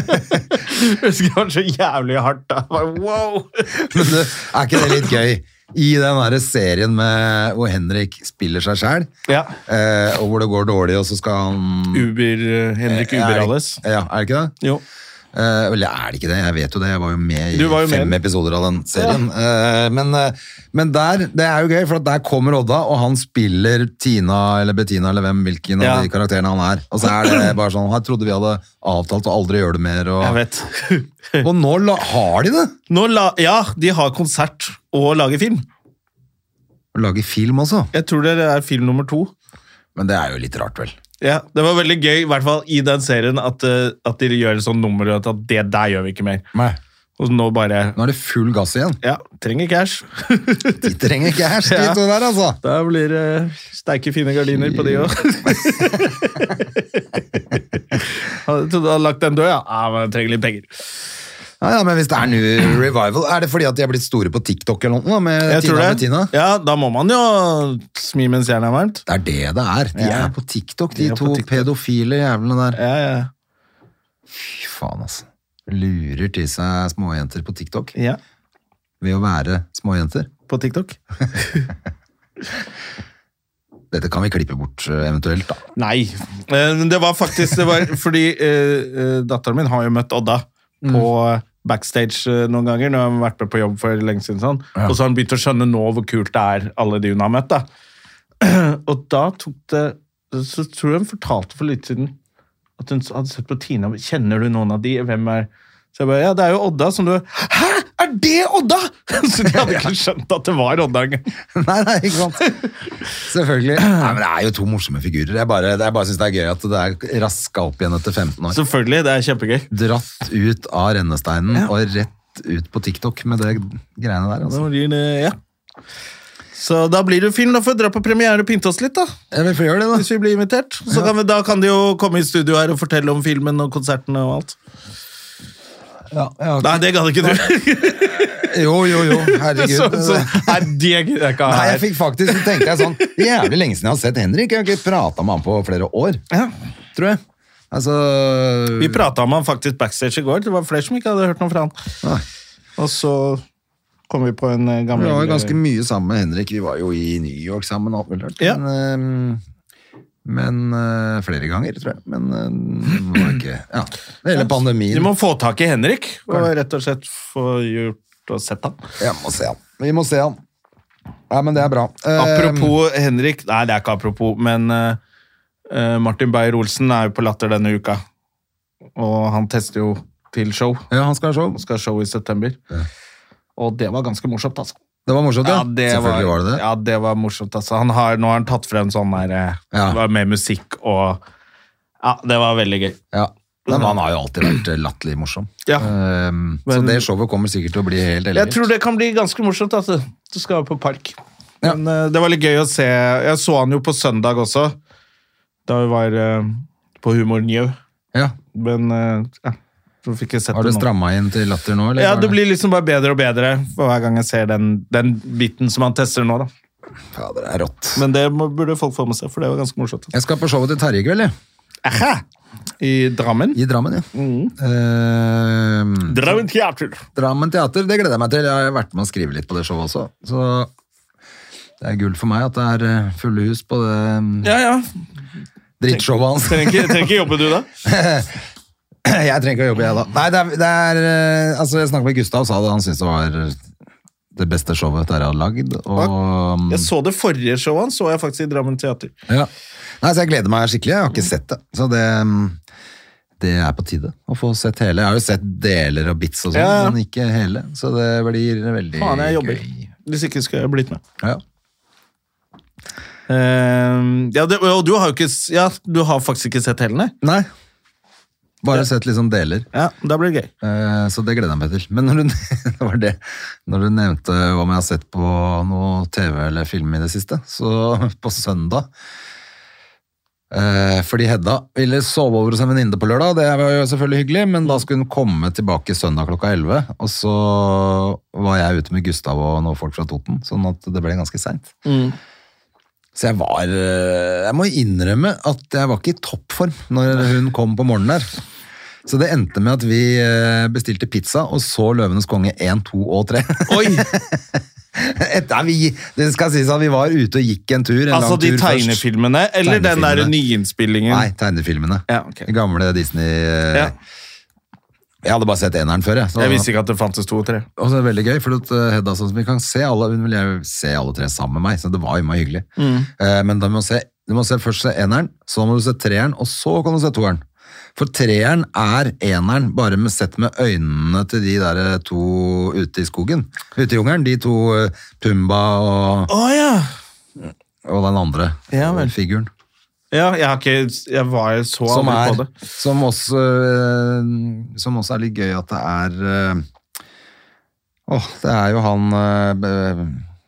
[SPEAKER 2] Husker jeg var så jævlig hardt da. Bare, Wow!
[SPEAKER 1] Men du, er ikke det litt gøy? I den der serien med, hvor Henrik spiller seg sjæl,
[SPEAKER 2] Ja.
[SPEAKER 1] eh, og hvor det går dårlig, og så skal han
[SPEAKER 2] Uber, eh, Henrik
[SPEAKER 1] Er-
[SPEAKER 2] Uber-Alles.
[SPEAKER 1] Ja, er det ikke det?
[SPEAKER 2] Jo.
[SPEAKER 1] Eh, eller er det ikke det? Jeg vet jo det. Jeg var jo med i
[SPEAKER 2] Du var jo
[SPEAKER 1] fem
[SPEAKER 2] med.
[SPEAKER 1] episoder av den serien. Eh, men, eh, men der, det er jo gøy, for at der kommer Odda, og han spiller Tina eller Bettina eller hvem, hvilken
[SPEAKER 2] Ja.
[SPEAKER 1] av de karakterene han er. Og så er
[SPEAKER 2] (clears throat)
[SPEAKER 1] det bare sånn Her trodde vi hadde avtalt å aldri gjøre det mer.
[SPEAKER 2] Jeg
[SPEAKER 1] Og,
[SPEAKER 2] vet.
[SPEAKER 1] og nå la, har de det!
[SPEAKER 2] Nå la, ja, de har konsert og lager film.
[SPEAKER 1] Å lage film også.
[SPEAKER 2] Jeg tror det er film nummer to.
[SPEAKER 1] Men det er jo litt rart, vel.
[SPEAKER 2] Ja, Det var veldig gøy i hvert fall i den serien at, eh, at de gjør et sånt nummer at at det der gjør vi ikke mer. Og nå bare
[SPEAKER 1] Nå er det full gass igjen.
[SPEAKER 2] Ja, trenger cash. (laughs)
[SPEAKER 1] De trenger ikke her,
[SPEAKER 2] Ja.
[SPEAKER 1] skritt og der, altså.
[SPEAKER 2] Da blir det sterke, fine gardiner på de òg.
[SPEAKER 1] (laughs)
[SPEAKER 2] Trodde du hadde lagt den død, ja. ja men jeg trenger litt penger.
[SPEAKER 1] Ja, ja, men hvis det er new revival, er det fordi at de er blitt store på TikTok eller noe da, med Tina
[SPEAKER 2] Jeg tror
[SPEAKER 1] og
[SPEAKER 2] det.
[SPEAKER 1] Bettina?
[SPEAKER 2] Ja, Da må man jo smi mens jernet er varmt.
[SPEAKER 1] Det er det det er. De
[SPEAKER 2] Ja.
[SPEAKER 1] er på TikTok,
[SPEAKER 2] De
[SPEAKER 1] de,
[SPEAKER 2] er på
[SPEAKER 1] to
[SPEAKER 2] TikTok.
[SPEAKER 1] pedofile jævlene der.
[SPEAKER 2] Ja, ja.
[SPEAKER 1] Fy faen, altså. Lurer til seg småjenter på TikTok
[SPEAKER 2] ja.
[SPEAKER 1] ved å være småjenter.
[SPEAKER 2] På TikTok?
[SPEAKER 1] Dette kan vi klippe bort eh, eventuelt, da. (laughs)
[SPEAKER 2] Nei. Eh, men Det var faktisk det var, (laughs) Fordi uh, datteren min har jo møtt Odda på backstage eh, noen ganger. Når hun har vært med på jobb for lenge siden. Sånn.
[SPEAKER 1] Ja.
[SPEAKER 2] Og så har hun begynt å skjønne nå hvor kult det er, alle de hun har møtt. Da. (clears throat) Og da tok det Så tror jeg hun fortalte for litt siden at hun hadde sett på Tina. Kjenner du noen av de? Hvem er Så jeg bare Ja, det er jo Odda som du Hæ! Er det Odda?! (laughs) Så de hadde ikke skjønt at det var Odda engang.
[SPEAKER 1] nei, nei, ikke sant. Selvfølgelig. Nei, men det er jo to morsomme figurer. Jeg bare, jeg bare syns det er gøy at det er raska opp igjen etter 15 år.
[SPEAKER 2] Selvfølgelig. Det er kjempegøy.
[SPEAKER 1] Dratt ut av rennesteinen og rett ut på TikTok med det greiene der.
[SPEAKER 2] Da
[SPEAKER 1] altså.
[SPEAKER 2] blir det, ja. Så da blir det film. Da får vi dra på premiere og pynte oss litt, da.
[SPEAKER 1] Ja, vi får gjøre det, da.
[SPEAKER 2] Hvis vi blir invitert. Så kan vi, da kan de jo komme i studio her og fortelle om filmen og konsertene og alt. Nei, det gadd ikke du.
[SPEAKER 1] Jo, jo, jo. (laughs) Herregud.
[SPEAKER 2] (laughs) Så, så, nei, det gidder jeg ikke ha
[SPEAKER 1] Nei, jeg
[SPEAKER 2] her.
[SPEAKER 1] fikk faktisk så tenkte jeg sånn Jævlig lenge siden jeg har sett Henrik. Jeg har ikke prata med han på flere år,
[SPEAKER 2] Ja.
[SPEAKER 1] tror jeg. Altså
[SPEAKER 2] Vi prata om han faktisk backstage i går. Det var flere som ikke hadde hørt noe fra
[SPEAKER 1] Nei.
[SPEAKER 2] han. Og så kom vi på en eh, gammel
[SPEAKER 1] Vi var jo ganske mye sammen med Henrik. Vi var jo i New York sammen, alt mulig rart.
[SPEAKER 2] Ja.
[SPEAKER 1] Men, ehm, men eh, flere ganger, tror jeg. Men ehm, det var ikke Ja. Hele pandemien.
[SPEAKER 2] Du må få tak i Henrik og rett og slett få gjort og sett han.
[SPEAKER 1] Jeg må se han. Vi må se han. Nei, men det er bra. Ehm,
[SPEAKER 2] Apropos Henrik Nei, det er ikke apropos, men eh, eh, Martin Beyer-Olsen er jo på Latter denne uka. Og han tester jo til show.
[SPEAKER 1] Ja, han skal ha show.
[SPEAKER 2] Han skal ha show i september. Og det var ganske morsomt, altså.
[SPEAKER 1] Det var morsomt, ja. Selvfølgelig var, det det.
[SPEAKER 2] Ja, det var morsomt, altså. Han har, nå har han tatt frem sånn der eh,
[SPEAKER 1] Ja.
[SPEAKER 2] det var med musikk og Ja, det var veldig gøy. Eh,
[SPEAKER 1] Ja. Nei, men han har jo alltid vært eh, latterlig morsom.
[SPEAKER 2] Ja.
[SPEAKER 1] Ehm, så
[SPEAKER 2] Men-
[SPEAKER 1] det showet kommer sikkert til å bli helt
[SPEAKER 2] Jeg
[SPEAKER 1] ellevilt.
[SPEAKER 2] tror det kan bli ganske morsomt. Altså. Du skal på park.
[SPEAKER 1] Ja.
[SPEAKER 2] Men eh, det var litt gøy å se. Jeg så han jo på søndag også, da vi var eh, på Humor Njø.
[SPEAKER 1] Ja.
[SPEAKER 2] Men eh, ja, så fikk jeg sett
[SPEAKER 1] Har du
[SPEAKER 2] det nå.
[SPEAKER 1] stramma inn til latter nå? Eller?
[SPEAKER 2] Ja,
[SPEAKER 1] har
[SPEAKER 2] det
[SPEAKER 1] du-
[SPEAKER 2] blir liksom bare bedre og bedre for hver gang jeg ser den, den biten som han tester nå, da.
[SPEAKER 1] Ja, det er rått.
[SPEAKER 2] Men det må, burde folk få med seg, for det var ganske morsomt.
[SPEAKER 1] Jeg skal på showet til Terje i kveld, jeg.
[SPEAKER 2] I Drammen.
[SPEAKER 1] I Drammen, ja.
[SPEAKER 2] Mm.
[SPEAKER 1] Ehm,
[SPEAKER 2] Drammen teater.
[SPEAKER 1] Drammen teater, det gleder jeg meg til. Jeg har vært med å skrive litt på det showet også. Så det er gull for meg at det er eh, fulle hus på det mm,
[SPEAKER 2] Ja, ja.
[SPEAKER 1] drittshowet hans.
[SPEAKER 2] Trenger ikke, trenger ikke jobbe, du, da.
[SPEAKER 1] (clears throat) Jeg trenger ikke å jobbe, jeg, da. Nei, det er, det er eh, Altså, jeg snakket med Gustav, sa det. Han syntes det var det beste showet Terje hadde lagd. Og um,
[SPEAKER 2] Jeg så det forrige showet hans, så jeg faktisk i Drammen teater.
[SPEAKER 1] Ja. Nei, så jeg gleder meg skikkelig. Jeg har ikke sett det. Så det, um, det er på tide å få sett hele. Jeg har jo sett deler og bits og sånn,
[SPEAKER 2] Ja, ja.
[SPEAKER 1] men ikke hele. Så det blir veldig
[SPEAKER 2] Faen, jeg jobber.
[SPEAKER 1] gøy.
[SPEAKER 2] Hvis ikke skulle jeg blitt med.
[SPEAKER 1] Ja.
[SPEAKER 2] Eh, ja, det, og du har jo ikke s- Ja, du har faktisk ikke sett heller,
[SPEAKER 1] Nei.
[SPEAKER 2] nei?
[SPEAKER 1] Bare sett liksom deler.
[SPEAKER 2] Ja, da blir det gøy.
[SPEAKER 1] Eh, Så det gleder jeg meg til. Men når du, (laughs) det var det. Når du nevnte om jeg har sett på noe TV eller film i det siste, så (laughs) på søndag eh, Fordi Hedda ville sove over hos en venninne på lørdag, det var jo selvfølgelig hyggelig, men da skulle hun komme tilbake søndag klokka 11. Og så var jeg ute med Gustav og noen folk fra Toten, sånn at det ble ganske seint. Så jeg var eh, Jeg må innrømme at jeg var ikke i toppform når hun kom på morgenen der. Så det endte med at vi eh, bestilte pizza og så Løvenes konge 1, 2 og (laughs) 3.
[SPEAKER 2] (laughs) Oi!
[SPEAKER 1] Etter, vi, det skal sies at vi var ute og gikk en tur. En
[SPEAKER 2] (laughs) Altså
[SPEAKER 1] lang
[SPEAKER 2] de
[SPEAKER 1] tur først.
[SPEAKER 2] tegnefilmene, eller den der
[SPEAKER 1] Tegnefilmene.
[SPEAKER 2] nyinnspillingen?
[SPEAKER 1] Nei, tegnefilmene.
[SPEAKER 2] Ja, ok.
[SPEAKER 1] De Gamle Disney eh,
[SPEAKER 2] Ja.
[SPEAKER 1] Jeg hadde bare sett eneren før. Jeg, så,
[SPEAKER 2] Jeg visste ikke at det fantes to og tre.
[SPEAKER 1] Og så er det veldig gøy, for at eh, Hedda sånn som vi kan se alle, hun vil jo se alle tre sammen med meg, så det var jo meg hyggelig.
[SPEAKER 2] Mm.
[SPEAKER 1] Eh, men da må du, se, du må se først se eneren, så må du se treeren, og så kan du se toeren. For treeren er eneren, bare med, sett med øynene til de der eh, to ute i skogen. Ute i jungelen, de to eh, Pumba og,
[SPEAKER 2] Å ja!
[SPEAKER 1] og den andre
[SPEAKER 2] Ja, vel.
[SPEAKER 1] eh, figuren.
[SPEAKER 2] Ja, jeg, har ikke, jeg var jeg så
[SPEAKER 1] Som,
[SPEAKER 2] aldri på
[SPEAKER 1] er,
[SPEAKER 2] det.
[SPEAKER 1] som, også, eh, som også er litt gøy at det er eh, Åh, det er jo han eh,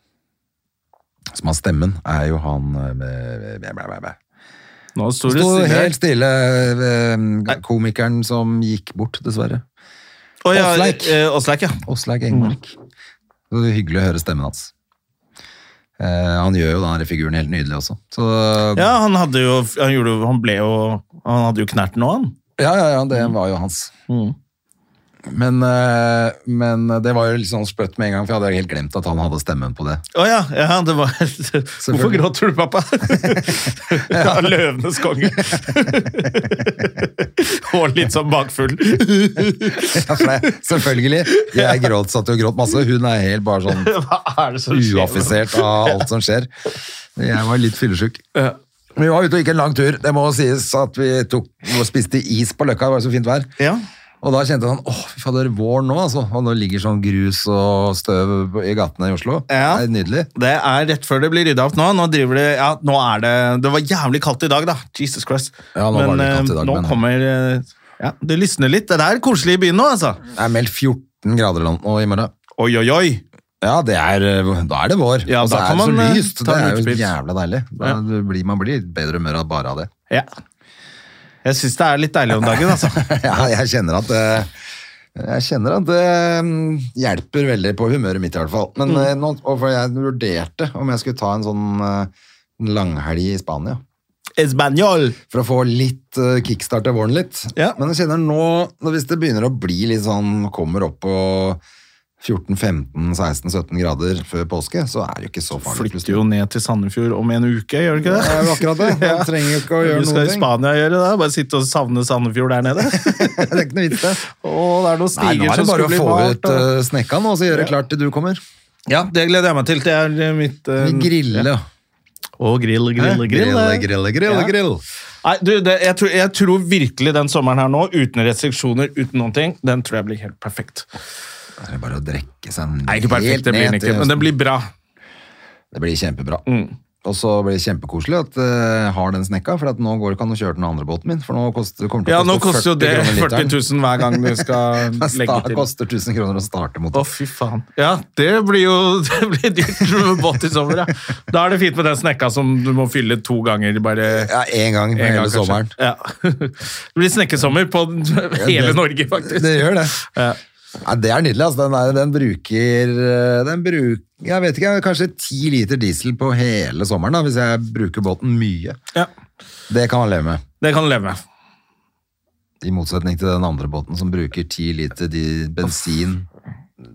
[SPEAKER 1] b- Som har stemmen, er jo han eh, b- b- b- b- b-
[SPEAKER 2] Nå står det
[SPEAKER 1] Sto
[SPEAKER 2] stille.
[SPEAKER 1] helt stille, eh, komikeren som gikk bort, dessverre.
[SPEAKER 2] Å ja,
[SPEAKER 1] Åsleik.
[SPEAKER 2] eh, Åsleik, ja.
[SPEAKER 1] Åslaug Engmark.
[SPEAKER 2] Mm.
[SPEAKER 1] Det var hyggelig å høre stemmen hans. Eh, han gjør jo den her figuren helt nydelig også. Så,
[SPEAKER 2] Ja, han hadde jo Han, gjorde, jo- han ble jo Han hadde jo knert nå, han.
[SPEAKER 1] Ja, ja, ja,
[SPEAKER 2] Mm.
[SPEAKER 1] det var jo hans. Men, eh, men det var jo litt sånn spøtt med en gang, for jeg hadde helt glemt at han hadde stemmen
[SPEAKER 2] (laughs)
[SPEAKER 1] på det.
[SPEAKER 2] Å ja, ja, det var Hvorfor gråter du, pappa? (laughs) ja, Løvenes (laughs) konge. Og litt sånn (laughs) bakfull.
[SPEAKER 1] Ja, for det, selvfølgelig. Jeg gråt, satt jo og gråt masse. Hun er helt bare
[SPEAKER 2] (laughs)
[SPEAKER 1] sånn
[SPEAKER 2] Hva er det som skjer?
[SPEAKER 1] uaffisert av alt som skjer. Jeg var litt fyllesyk.
[SPEAKER 2] Ja.
[SPEAKER 1] Vi var ute og gikk en lang tur. Det må sies at vi tok og spiste is på Løkka. Det var jo så fint vær.
[SPEAKER 2] Ja.
[SPEAKER 1] Og da kjente han åh, fy fader, vår nå, altså. Og nå ligger sånn grus og støv i gatene i Oslo.
[SPEAKER 2] Ja.
[SPEAKER 1] Det er nydelig.
[SPEAKER 2] Det er rett før det blir rydda opp nå. Nå driver det, ja, nå er det Det var jævlig kaldt i dag, da. Jesus Christ.
[SPEAKER 1] Ja, nå var det litt kaldt i dag,
[SPEAKER 2] eh, nå
[SPEAKER 1] men-
[SPEAKER 2] kommer eh, Ja, det lysner litt. Det er koselig i byen nå, altså.
[SPEAKER 1] Det er meldt 14 grader land nå i morgen.
[SPEAKER 2] Oi, oi, oi.
[SPEAKER 1] Ja, det er, eh, da er det vår.
[SPEAKER 2] Ja,
[SPEAKER 1] og så er
[SPEAKER 2] da kan
[SPEAKER 1] det så
[SPEAKER 2] man, eh,
[SPEAKER 1] lyst.
[SPEAKER 2] ta
[SPEAKER 1] Det
[SPEAKER 2] en
[SPEAKER 1] er jo
[SPEAKER 2] utepils.
[SPEAKER 1] jævla deilig. Da
[SPEAKER 2] Ja.
[SPEAKER 1] du blir, man blir i bedre humør av bare av det. (laughs)
[SPEAKER 2] Ja. Jeg syns det er litt deilig om dagen, altså. (laughs)
[SPEAKER 1] ja, jeg kjenner at det, jeg kjenner at det mm, hjelper veldig på humøret mitt i hvert fall. Men
[SPEAKER 2] Mm.
[SPEAKER 1] eh, nå, og for jeg vurderte om jeg skulle ta en sånn eh, langhelg i Spania.
[SPEAKER 2] Espanol.
[SPEAKER 1] For å få litt eh, kickstart av våren litt.
[SPEAKER 2] Ja.
[SPEAKER 1] Men jeg kjenner nå, nå, hvis det begynner å bli litt sånn, kommer opp på 14, 15, 16, 17 grader før påske, så er det jo ikke så farlig.
[SPEAKER 2] Flytter jo ned til Sandefjord om en uke, gjør du ikke
[SPEAKER 1] Det er jo
[SPEAKER 2] det?
[SPEAKER 1] akkurat (laughs)
[SPEAKER 2] (laughs)
[SPEAKER 1] det. Man trenger jo ikke å gjøre
[SPEAKER 2] Du skal
[SPEAKER 1] noen
[SPEAKER 2] i (laughs)
[SPEAKER 1] ting.
[SPEAKER 2] Spania gjøre det? Bare sitte og savne Sandefjord der nede?
[SPEAKER 1] Det er ikke noe vits det.
[SPEAKER 2] Å, det er
[SPEAKER 1] Nei,
[SPEAKER 2] noen
[SPEAKER 1] nå
[SPEAKER 2] stiger
[SPEAKER 1] er det
[SPEAKER 2] som
[SPEAKER 1] bare
[SPEAKER 2] skulle
[SPEAKER 1] å
[SPEAKER 2] bli
[SPEAKER 1] få
[SPEAKER 2] malt.
[SPEAKER 1] ut
[SPEAKER 2] og-
[SPEAKER 1] eh, snekka nå, og så gjøre klart til du kommer.
[SPEAKER 2] Ja, det gleder jeg meg til. Det er eh, mitt eh,
[SPEAKER 1] Vi griller, ja.
[SPEAKER 2] Å, grill, grill, grill.
[SPEAKER 1] grille,
[SPEAKER 2] eh.
[SPEAKER 1] grille, grille,
[SPEAKER 2] Ja.
[SPEAKER 1] grill.
[SPEAKER 2] Nei, du, det, jeg, tror, jeg tror virkelig den sommeren her nå, uten restriksjoner, uten noen ting, den tror jeg blir helt perfekt.
[SPEAKER 1] Det er bare å drekke seg
[SPEAKER 2] Nei, ikke perfekt, det blir den ikke,
[SPEAKER 1] til
[SPEAKER 2] men den blir Mm. bra.
[SPEAKER 1] Det blir kjempebra. Og så blir det kjempekoselig at eh, har den snekka, for at nå går det ikke an å kjøre den andre båten min, for nå koster, kommer det
[SPEAKER 2] Ja,
[SPEAKER 1] til
[SPEAKER 2] nå
[SPEAKER 1] å koste
[SPEAKER 2] koster jo
[SPEAKER 1] 40
[SPEAKER 2] det
[SPEAKER 1] kroner
[SPEAKER 2] 40
[SPEAKER 1] literen.
[SPEAKER 2] 000 hver gang du
[SPEAKER 1] (laughs)
[SPEAKER 2] skal
[SPEAKER 1] Det
[SPEAKER 2] legge
[SPEAKER 1] sta-
[SPEAKER 2] til.
[SPEAKER 1] koster 1000 kroner å starte
[SPEAKER 2] Å,
[SPEAKER 1] motor.
[SPEAKER 2] fy faen. Ja, det blir jo (laughs) det blir dyrt med båt i sommer, ja. Da er det fint med den snekka som du må fylle to ganger, bare
[SPEAKER 1] Ja, én gang på
[SPEAKER 2] en gang,
[SPEAKER 1] hele
[SPEAKER 2] kanskje.
[SPEAKER 1] sommeren.
[SPEAKER 2] Ja. (laughs) Det blir snekkesommer på (laughs) hele Norge, faktisk.
[SPEAKER 1] Det gjør det.
[SPEAKER 2] Ja.
[SPEAKER 1] Nei, det er nydelig. Altså. Den, er, den bruker, eh, den bruk, jeg vet ikke, kanskje ti liter diesel på hele sommeren, da, hvis jeg bruker båten mye.
[SPEAKER 2] Ja,
[SPEAKER 1] Det kan man leve med.
[SPEAKER 2] det kan du leve med.
[SPEAKER 1] I motsetning til den andre båten som bruker ti liter di- bensin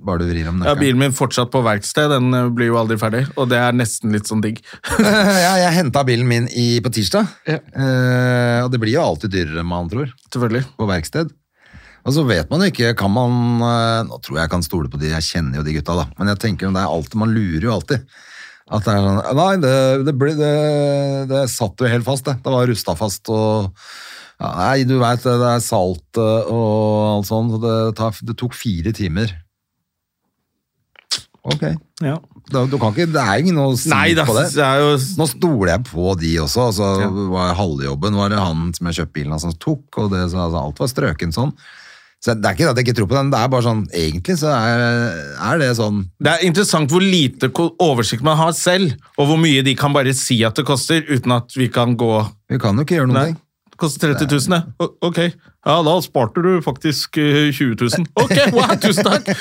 [SPEAKER 1] bare du vrir om
[SPEAKER 2] Ja,
[SPEAKER 1] nøkkelen.
[SPEAKER 2] bilen min fortsatt på verksted, den eh, blir jo aldri ferdig, og det er nesten litt sånn digg.
[SPEAKER 1] (laughs)
[SPEAKER 2] (laughs)
[SPEAKER 1] Ja, jeg henta bilen min i, på tirsdag,
[SPEAKER 2] Ja.
[SPEAKER 1] eh, og det blir jo alltid dyrere enn man tror,
[SPEAKER 2] Selvfølgelig.
[SPEAKER 1] på verksted. Og så vet man jo ikke, kan man eh, Nå tror jeg jeg kan stole på de, jeg kjenner jo de gutta, da. Men jeg tenker jo det er alltid, man lurer jo alltid. At det er sånn Nei, det, det, ble, det, det satt jo helt fast, det. Det var rusta fast og ja, Nei, du veit det, det er salt eh, og alt sånt. så Det, tar, det tok fire timer. Ok.
[SPEAKER 2] Ja.
[SPEAKER 1] Da, du kan ikke, det er jo ikke noe å si
[SPEAKER 2] Nei da,
[SPEAKER 1] på det.
[SPEAKER 2] det er jo
[SPEAKER 1] Nå stoler jeg på de også. Altså,
[SPEAKER 2] Ja.
[SPEAKER 1] var Halvjobben var det han som jeg kjøpte bilen av som tok, og det, så, altså, alt var strøken sånn. Så Det er ikke det at jeg ikke tror på den, det er bare sånn, egentlig så er, er det sånn
[SPEAKER 2] Det er interessant hvor lite ko- oversikt man har selv, og hvor mye de kan bare si at det koster, uten at vi kan gå
[SPEAKER 1] Vi kan jo ikke gjøre noen
[SPEAKER 2] Nei,
[SPEAKER 1] ting.
[SPEAKER 2] det koster 30 000, det. O- Ok, ja, da sparte du faktisk eh, 20 000. Ok, wow, tusen
[SPEAKER 1] (laughs)
[SPEAKER 2] takk!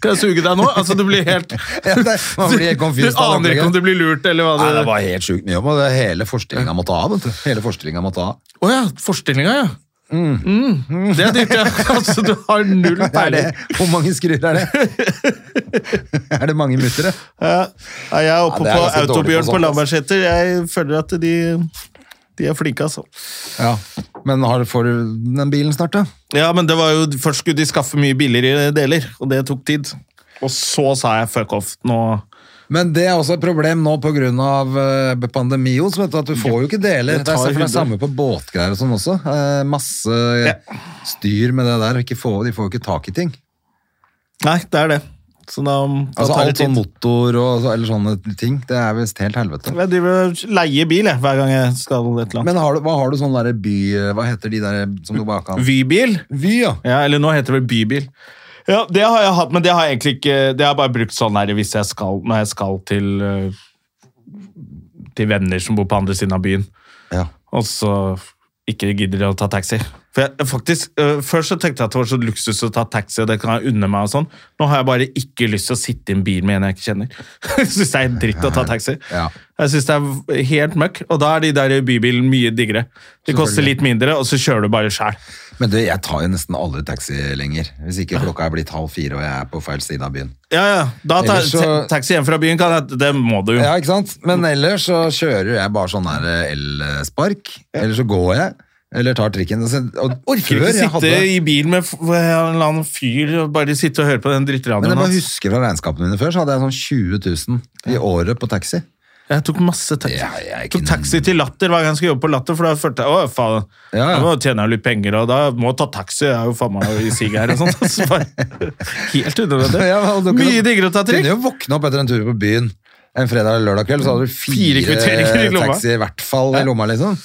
[SPEAKER 2] Kan jeg suge deg nå? Altså, du blir helt
[SPEAKER 1] Ja, det, man blir helt
[SPEAKER 2] Du
[SPEAKER 1] confused. av
[SPEAKER 2] aner
[SPEAKER 1] det
[SPEAKER 2] ikke om
[SPEAKER 1] opplegget.
[SPEAKER 2] du blir lurt, eller hva
[SPEAKER 1] Nei, det
[SPEAKER 2] det
[SPEAKER 1] var helt sjukt mye om, og det hele forstillingen måtte av, vet du. Hele forstillingen måtte av.
[SPEAKER 2] Å ja, forstillinga, ja. Det er
[SPEAKER 1] (laughs)
[SPEAKER 2] dyrt, ja. (laughs) Altså, du har
[SPEAKER 1] Er Mm.
[SPEAKER 2] null
[SPEAKER 1] det,
[SPEAKER 2] peiling.
[SPEAKER 1] hvor mange skruer er
[SPEAKER 2] (laughs)
[SPEAKER 1] det? er det mange muttere?
[SPEAKER 2] Ja, ja, jeg er oppe
[SPEAKER 1] Ja, det er ganske dårlig
[SPEAKER 2] på
[SPEAKER 1] altså. på
[SPEAKER 2] Autobjørn på
[SPEAKER 1] sånt, ass.
[SPEAKER 2] Lambertseter. Jeg føler at de, de er flinke, altså.
[SPEAKER 1] Ja. Men har, får du den bilen snart, da?
[SPEAKER 2] Ja, men det var jo, Først skulle de skaffe mye billigere deler, og det tok tid. Og så sa jeg fuck off. Nå
[SPEAKER 1] Men det er også et problem nå pga. pandemien. eh, som heter at Du får jo ikke deler.
[SPEAKER 2] Det
[SPEAKER 1] Det er
[SPEAKER 2] tar
[SPEAKER 1] for det
[SPEAKER 2] hundre.
[SPEAKER 1] samme på båtgreier og sånn også. Eh, Masse styr med det der. og Ikke få, de får jo ikke tak i ting.
[SPEAKER 2] Nei, det er det. Så da, da
[SPEAKER 1] Altså
[SPEAKER 2] tar det
[SPEAKER 1] Alt sånn
[SPEAKER 2] tid.
[SPEAKER 1] motor og, eller sånne ting, det er visst helt helvete.
[SPEAKER 2] Jeg driver og leier bil jeg, hver gang jeg skal et eller annet.
[SPEAKER 1] Men har du, hva har du sånn derre by... Hva heter de der eh, som du bare kan
[SPEAKER 2] Vybil?
[SPEAKER 1] Vy, ja.
[SPEAKER 2] Ja, eller nå heter det vel bybil. Ja, Det har jeg hatt, men det har jeg egentlig ikke Det har jeg bare brukt sånn her hvis jeg skal, når jeg skal til eh, Til venner som bor på andre siden av byen.
[SPEAKER 1] ja.
[SPEAKER 2] Og så ikke gidder jeg å ta taxi. For jeg, faktisk, øh, Før så tenkte jeg at det var så luksus å ta taxi, og det kan jeg unne meg. og sånn. Nå har jeg bare ikke lyst til å sitte i en bil med en jeg ikke kjenner. (laughs) Jeg syns det er dritt å ta taxi.
[SPEAKER 1] Ja.
[SPEAKER 2] Jeg synes det er helt møkk, og da er de der i bybilen mye diggere. De koster litt mindre, og så kjører du bare sjæl.
[SPEAKER 1] Men du, jeg tar jo nesten aldri taxi lenger. Hvis ikke klokka er blitt halv fire og jeg er på feil side av byen.
[SPEAKER 2] Ja, ja. Da ta,
[SPEAKER 1] Ellers så-
[SPEAKER 2] ta- taxi hjem fra byen, kan jeg, det må du jo.
[SPEAKER 1] Ja, ikke sant? Men ellers så kjører jeg bare sånn her eh, elspark. Eller så går jeg. Eller tar trikken. Og, og
[SPEAKER 2] Orker
[SPEAKER 1] før
[SPEAKER 2] ikke
[SPEAKER 1] jeg
[SPEAKER 2] sitte i bil med f- en eller annen fyr og bare sitte og høre på den
[SPEAKER 1] Men
[SPEAKER 2] drittradioen
[SPEAKER 1] jeg bare
[SPEAKER 2] hans.
[SPEAKER 1] husker fra regnskapene mine før, så hadde jeg sånn 20 000 i året på taxi.
[SPEAKER 2] (laughs) Jeg tok masse taxi.
[SPEAKER 1] Ja, jeg
[SPEAKER 2] tok
[SPEAKER 1] kunne-
[SPEAKER 2] taxi til Latter hver gang jeg skulle jobbe på Latter, for da følte jeg å faen,
[SPEAKER 1] Ja, ja.
[SPEAKER 2] jeg må tjene litt penger, og da må jeg ta taxi. Jeg er jo faen meg i sig her og sånt. (laughs) Så bare- Helt unødvendig.
[SPEAKER 1] Ja, og du kunne-
[SPEAKER 2] Mye diggere å ta
[SPEAKER 1] Kunne
[SPEAKER 2] trikk.
[SPEAKER 1] jo våkne opp etter en tur på byen en fredag eller lørdag kveld, så hadde du
[SPEAKER 2] Fire
[SPEAKER 1] fire,
[SPEAKER 2] kvitteringer i lomma.
[SPEAKER 1] taxi i hvert fall i lomma, liksom.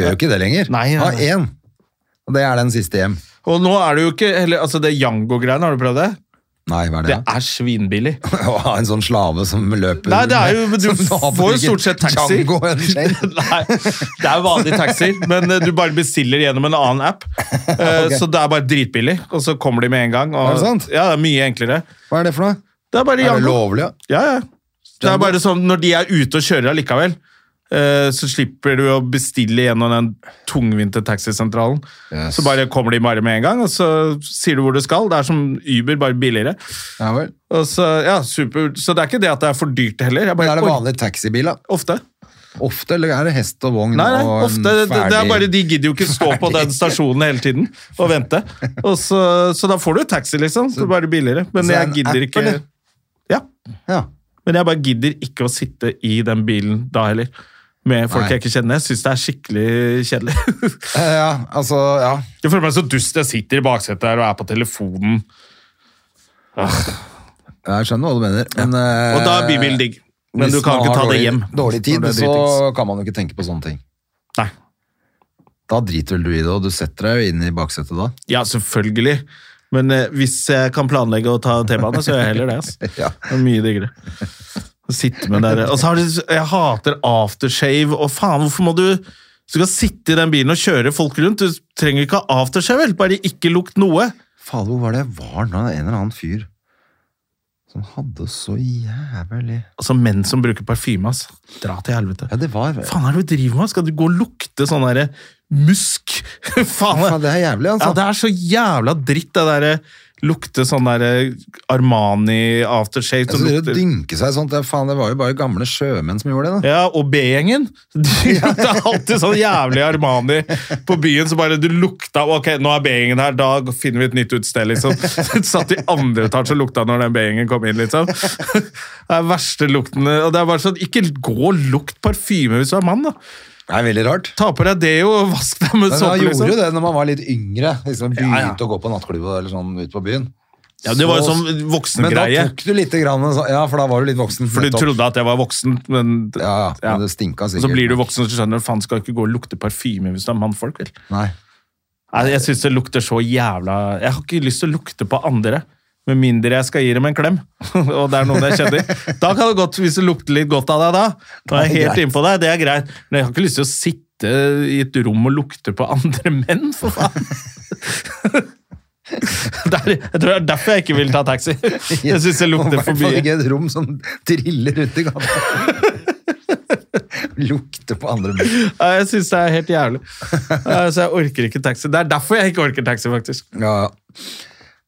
[SPEAKER 1] Gjør jo ikke det lenger.
[SPEAKER 2] Nei, nei,
[SPEAKER 1] Ha
[SPEAKER 2] nei.
[SPEAKER 1] én. Og det er den siste hjem.
[SPEAKER 2] Og nå er det jo ikke eller, altså Det Jango-greiene, har du prøvd det?
[SPEAKER 1] Nei, hva er
[SPEAKER 2] Det
[SPEAKER 1] det?
[SPEAKER 2] er svinbillig.
[SPEAKER 1] (laughs) Å ha en sånn slave som løper
[SPEAKER 2] Nei, det
[SPEAKER 1] (laughs)
[SPEAKER 2] er jo, men du
[SPEAKER 1] som
[SPEAKER 2] får jo stort sett taxi.
[SPEAKER 1] Django
[SPEAKER 2] (laughs)
[SPEAKER 1] og en chain.
[SPEAKER 2] Nei, det er vanlig taxi, men eh, du bare bestiller gjennom en annen
[SPEAKER 1] (laughs)
[SPEAKER 2] app. Eh, Så det er bare dritbillig, og så kommer de med en gang. Og,
[SPEAKER 1] Er det sant?
[SPEAKER 2] Ja, det er mye enklere.
[SPEAKER 1] Hva er det for noe?
[SPEAKER 2] Det er
[SPEAKER 1] Er
[SPEAKER 2] bare
[SPEAKER 1] det
[SPEAKER 2] Jango.
[SPEAKER 1] lovlig? ja?
[SPEAKER 2] Ja, ja. Det er bare sånn, Når de er ute og kjører allikevel, eh, så slipper du å bestille gjennom den tungvinte taxisentralen.
[SPEAKER 1] Yes.
[SPEAKER 2] Så bare kommer de bare med en gang, og så sier du hvor du skal. Det er som Uber, bare billigere.
[SPEAKER 1] Ja vel.
[SPEAKER 2] Og så, ja, super. så det er ikke det at det er for dyrt heller.
[SPEAKER 1] Men
[SPEAKER 2] Jeg bare,
[SPEAKER 1] er det
[SPEAKER 2] oi,
[SPEAKER 1] vanlig taxibil, da?
[SPEAKER 2] Ofte.
[SPEAKER 1] Ofte, eller er det hest og vogn
[SPEAKER 2] Nei, nei,
[SPEAKER 1] og en
[SPEAKER 2] ofte. Det, det det er
[SPEAKER 1] ferdig-
[SPEAKER 2] bare De gidder jo ikke stå på den stasjonen hele tiden og
[SPEAKER 1] (laughs)
[SPEAKER 2] vente. Og så, så da får du taxi, liksom. Så bare billigere.
[SPEAKER 1] Så
[SPEAKER 2] Men
[SPEAKER 1] det er
[SPEAKER 2] jeg
[SPEAKER 1] en app,
[SPEAKER 2] gidder ikke
[SPEAKER 1] eller?
[SPEAKER 2] Ja.
[SPEAKER 1] Ja.
[SPEAKER 2] Men jeg bare gidder ikke å sitte i den bilen da heller. Med folk
[SPEAKER 1] Nei.
[SPEAKER 2] jeg ikke kjenner. Jeg syns det er skikkelig kjedelig.
[SPEAKER 1] Eh, ja, altså, ja.
[SPEAKER 2] (laughs) jeg føler meg så dust. Jeg sitter i baksetet her og er på telefonen.
[SPEAKER 1] Jeg skjønner hva du mener. Men, eh,
[SPEAKER 2] Og da er bybilen digg. Men du kan ikke ta det hjem.
[SPEAKER 1] Dårlig tid,
[SPEAKER 2] når det er
[SPEAKER 1] så
[SPEAKER 2] dritings.
[SPEAKER 1] kan man jo ikke tenke på sånne ting.
[SPEAKER 2] Nei.
[SPEAKER 1] Da driter vel du i det, og du setter deg jo inn i baksetet da.
[SPEAKER 2] Ja, selvfølgelig. Men eh, hvis jeg kan planlegge å ta T-bane, så gjør jeg heller det. (laughs) Altså.
[SPEAKER 1] Ja.
[SPEAKER 2] Det er mye diggere. Å sitte med der. Og så har du, jeg hater aftershave, og faen, hvorfor må du Du skal sitte i den bilen og kjøre folk rundt. Du trenger ikke ha aftershave, vel? bare ikke lukt noe.
[SPEAKER 1] Fader, hvor var det jeg var nå? En eller annen fyr som hadde så jævlig
[SPEAKER 2] Altså, menn som bruker parfyme, ass. Dra til helvete.
[SPEAKER 1] Ja, det var
[SPEAKER 2] Hva faen er det du driver med? Skal du gå og lukte sånn derre musk? (laughs) faen,
[SPEAKER 1] Ja, det er jævlig, altså.
[SPEAKER 2] Ja, det er så jævla dritt, det derre lukte sånn derre Armani aftershave
[SPEAKER 1] Jeg
[SPEAKER 2] som
[SPEAKER 1] synes Altså, det
[SPEAKER 2] lukter
[SPEAKER 1] dynke seg sånt, det, er faen, det var jo bare gamle sjømenn som gjorde det, da.
[SPEAKER 2] Ja, og B-gjengen. (laughs) De- Det er alltid sånn jævlig Armani på byen som bare du lukta Ok, nå er B-gjengen her, da finner vi et nytt utsted, liksom. (laughs) Så Satt i andre etasje og lukta når den B-gjengen kom inn, liksom. (laughs) Det er verste lukten Og det er bare sånn, ikke gå og lukt parfyme hvis du er mann, da.
[SPEAKER 1] Det er veldig rart.
[SPEAKER 2] Ta på deg deo og vask deg med
[SPEAKER 1] Men da
[SPEAKER 2] såpe,
[SPEAKER 1] gjorde jo
[SPEAKER 2] liksom.
[SPEAKER 1] det når man var litt yngre. Liksom Begynte
[SPEAKER 2] Ja, ja.
[SPEAKER 1] å gå på nattklubb eller sånn ut på byen.
[SPEAKER 2] Ja, det var jo
[SPEAKER 1] Så-
[SPEAKER 2] sånn
[SPEAKER 1] Men da
[SPEAKER 2] voksengreie.
[SPEAKER 1] tok du litt grann, så- Ja, for da var du litt voksen.
[SPEAKER 2] For du
[SPEAKER 1] nettopp.
[SPEAKER 2] trodde at jeg var voksen, men
[SPEAKER 1] Ja, ja, men det stinka
[SPEAKER 2] Og
[SPEAKER 1] sikkert.
[SPEAKER 2] Så blir du voksen og så skjønner du faen skal ikke gå og lukte parfyme hvis du er mannfolk, vel.
[SPEAKER 1] Nei.
[SPEAKER 2] Nei, Altså, Jeg syns det lukter så jævla Jeg har ikke lyst til å lukte på andre. Med mindre jeg skal gi dem en klem, (laughs) og det er noen jeg kjenner. Da kan det godt, Hvis det lukter litt godt av deg da, da er jeg helt innpå deg, det er greit. Men jeg har ikke lyst til å sitte i et rom og lukte på andre menn, for faen. Der, jeg tror (laughs) det er derfor jeg ikke vil ta taxi. (laughs) Jeg syns det
[SPEAKER 1] Og
[SPEAKER 2] lukter
[SPEAKER 1] I (laughs)
[SPEAKER 2] for
[SPEAKER 1] hvert fall
[SPEAKER 2] mye.
[SPEAKER 1] (laughs) ikke et rom som triller ut i gata. Lukte på andre mennesker.
[SPEAKER 2] Nei, Jeg syns det er helt jævlig. Nei, Så jeg orker ikke taxi. Det er derfor jeg ikke orker taxi, faktisk.
[SPEAKER 1] Ja, ja.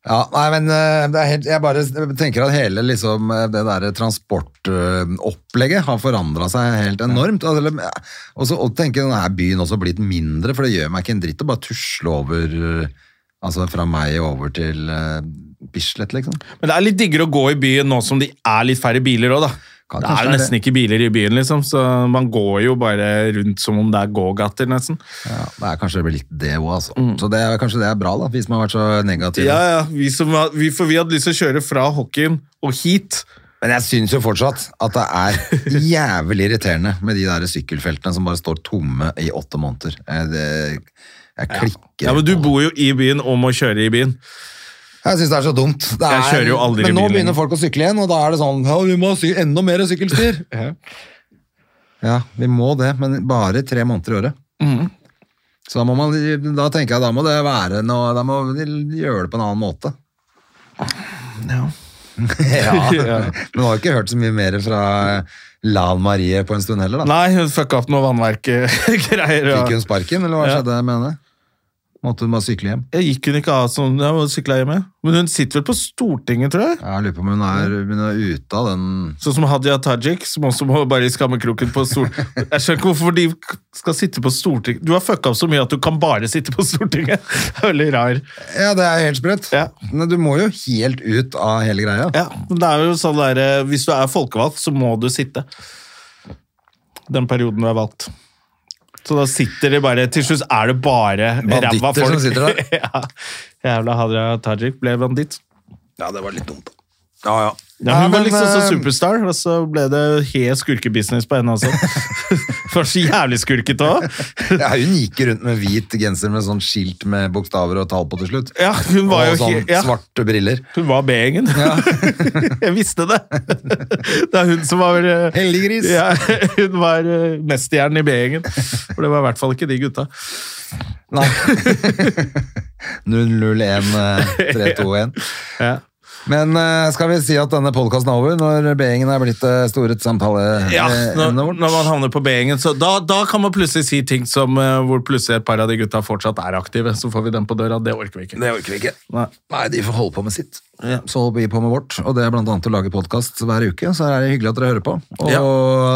[SPEAKER 1] Ja, nei, men eh, det er helt, jeg bare tenker at hele liksom, eh, det der transportopplegget har forandra seg helt enormt. Altså, eller, eh, Og så og tenker jeg at denne byen også har blitt mindre, for det gjør meg ikke en dritt å bare tusle over eh, altså fra meg og over til eh, Bislett, liksom.
[SPEAKER 2] Men det er litt diggere å gå i byen nå som de er litt færre biler òg, da.
[SPEAKER 1] Kan
[SPEAKER 2] Det
[SPEAKER 1] kanskje
[SPEAKER 2] er jo
[SPEAKER 1] være
[SPEAKER 2] nesten ikke biler i byen, liksom, så man går jo bare rundt som om det er gågater, nesten.
[SPEAKER 1] Ja, det er kanskje litt det òg, altså. Så det er, kanskje det er bra, da, vi som har vært så negative.
[SPEAKER 2] Ja, ja, vi som var, vi, For vi hadde lyst til å kjøre fra hockeyen og hit.
[SPEAKER 1] Men jeg syns jo fortsatt at det er (laughs) jævlig irriterende med de der sykkelfeltene som bare står tomme i åtte måneder. Jeg, det, jeg klikker.
[SPEAKER 2] Ja, Men du
[SPEAKER 1] på det.
[SPEAKER 2] bor jo i byen og må kjøre i byen.
[SPEAKER 1] Jeg syns det er så dumt. Det er,
[SPEAKER 2] Jeg kjører jo aldri
[SPEAKER 1] men nå
[SPEAKER 2] bil lenger.
[SPEAKER 1] begynner folk å sykle igjen, og da er det sånn ja, vi må ha sy enda mer
[SPEAKER 2] (laughs)
[SPEAKER 1] sykkelstier. ja. vi må det, men bare tre måneder i året.
[SPEAKER 2] Mhm.
[SPEAKER 1] Så da, må man, da tenker jeg da må det være noe, da må vi gjøre det på en annen måte. (laughs) Ja.
[SPEAKER 2] (laughs)
[SPEAKER 1] Men du har ikke hørt så mye mer fra Lan Marie på en stund heller, da.
[SPEAKER 2] Nei, hun fucka opp noe (laughs) vannverkgreier.
[SPEAKER 1] Fikk
[SPEAKER 2] Ja.
[SPEAKER 1] hun sparken, eller hva
[SPEAKER 2] Ja.
[SPEAKER 1] skjedde med henne? Måtte hun bare sykle hjem?
[SPEAKER 2] Jeg gikk hun ikke av som ja, hun sykla hjemme. Men hun sitter vel på Stortinget, tror jeg.
[SPEAKER 1] Ja, Jeg lurer på om hun er, hun er ute av den
[SPEAKER 2] Sånn som Hadia Tajik, som også må bare i skammekroken på Stortinget. Jeg skjønner ikke hvorfor de skal sitte på Stortinget. Du har fucka opp så mye at du kan bare sitte på Stortinget. (laughs) Det er Veldig rar.
[SPEAKER 1] Ja, det er helt sprøtt.
[SPEAKER 2] Ja.
[SPEAKER 1] Men du må jo helt ut av hele
[SPEAKER 2] (laughs)
[SPEAKER 1] greia.
[SPEAKER 2] Ja, men det er jo sånn der, eh, Hvis du er folkevalgt, så må du sitte den perioden du er valgt. Så da sitter de bare Til slutt er det bare
[SPEAKER 1] Banditter
[SPEAKER 2] ræva folk.
[SPEAKER 1] som sitter der.
[SPEAKER 2] (laughs) ja. Jævla Hadia Tajik ble banditt.
[SPEAKER 1] Ja, det var litt dumt, da. Ja, ja.
[SPEAKER 2] Ja, hun var
[SPEAKER 1] men,
[SPEAKER 2] liksom så
[SPEAKER 1] eh,
[SPEAKER 2] superstar, og så ble det helt skurkebusiness på henne også. (laughs) For så jævlig skurkete òg.
[SPEAKER 1] ja, hun gikk rundt med hvit genser med sånn skilt med bokstaver og tall på til slutt.
[SPEAKER 2] Ja, hun var
[SPEAKER 1] og
[SPEAKER 2] jo
[SPEAKER 1] sånn
[SPEAKER 2] helt ja.
[SPEAKER 1] svarte briller.
[SPEAKER 2] Hun var B-gjengen. (laughs) jeg visste det! Det er hun som var eh,
[SPEAKER 1] Heldiggris!
[SPEAKER 2] Ja, (laughs) hun var eh, mesterhjernen i B-gjengen. For det var i hvert fall ikke de gutta.
[SPEAKER 1] Nei.
[SPEAKER 2] (laughs)
[SPEAKER 1] 001-321.
[SPEAKER 2] Ja.
[SPEAKER 1] Men eh, skal vi si at denne podkasten er over, når B-gjengen er blitt det store samtale... eh,
[SPEAKER 2] når,
[SPEAKER 1] emnet
[SPEAKER 2] når
[SPEAKER 1] vårt?
[SPEAKER 2] man havner på B-gjengen, så da, da kan man plutselig si ting som eh, hvor plutselig et par av de gutta fortsatt er aktive. Så får vi den på døra. Det orker vi ikke.
[SPEAKER 1] Det orker vi ikke.
[SPEAKER 2] Nei.
[SPEAKER 1] Nei, de får holde på med sitt. Så holder vi på med vårt, og det er blant annet å lage podkast hver uke. Så er det hyggelig at dere hører på. Og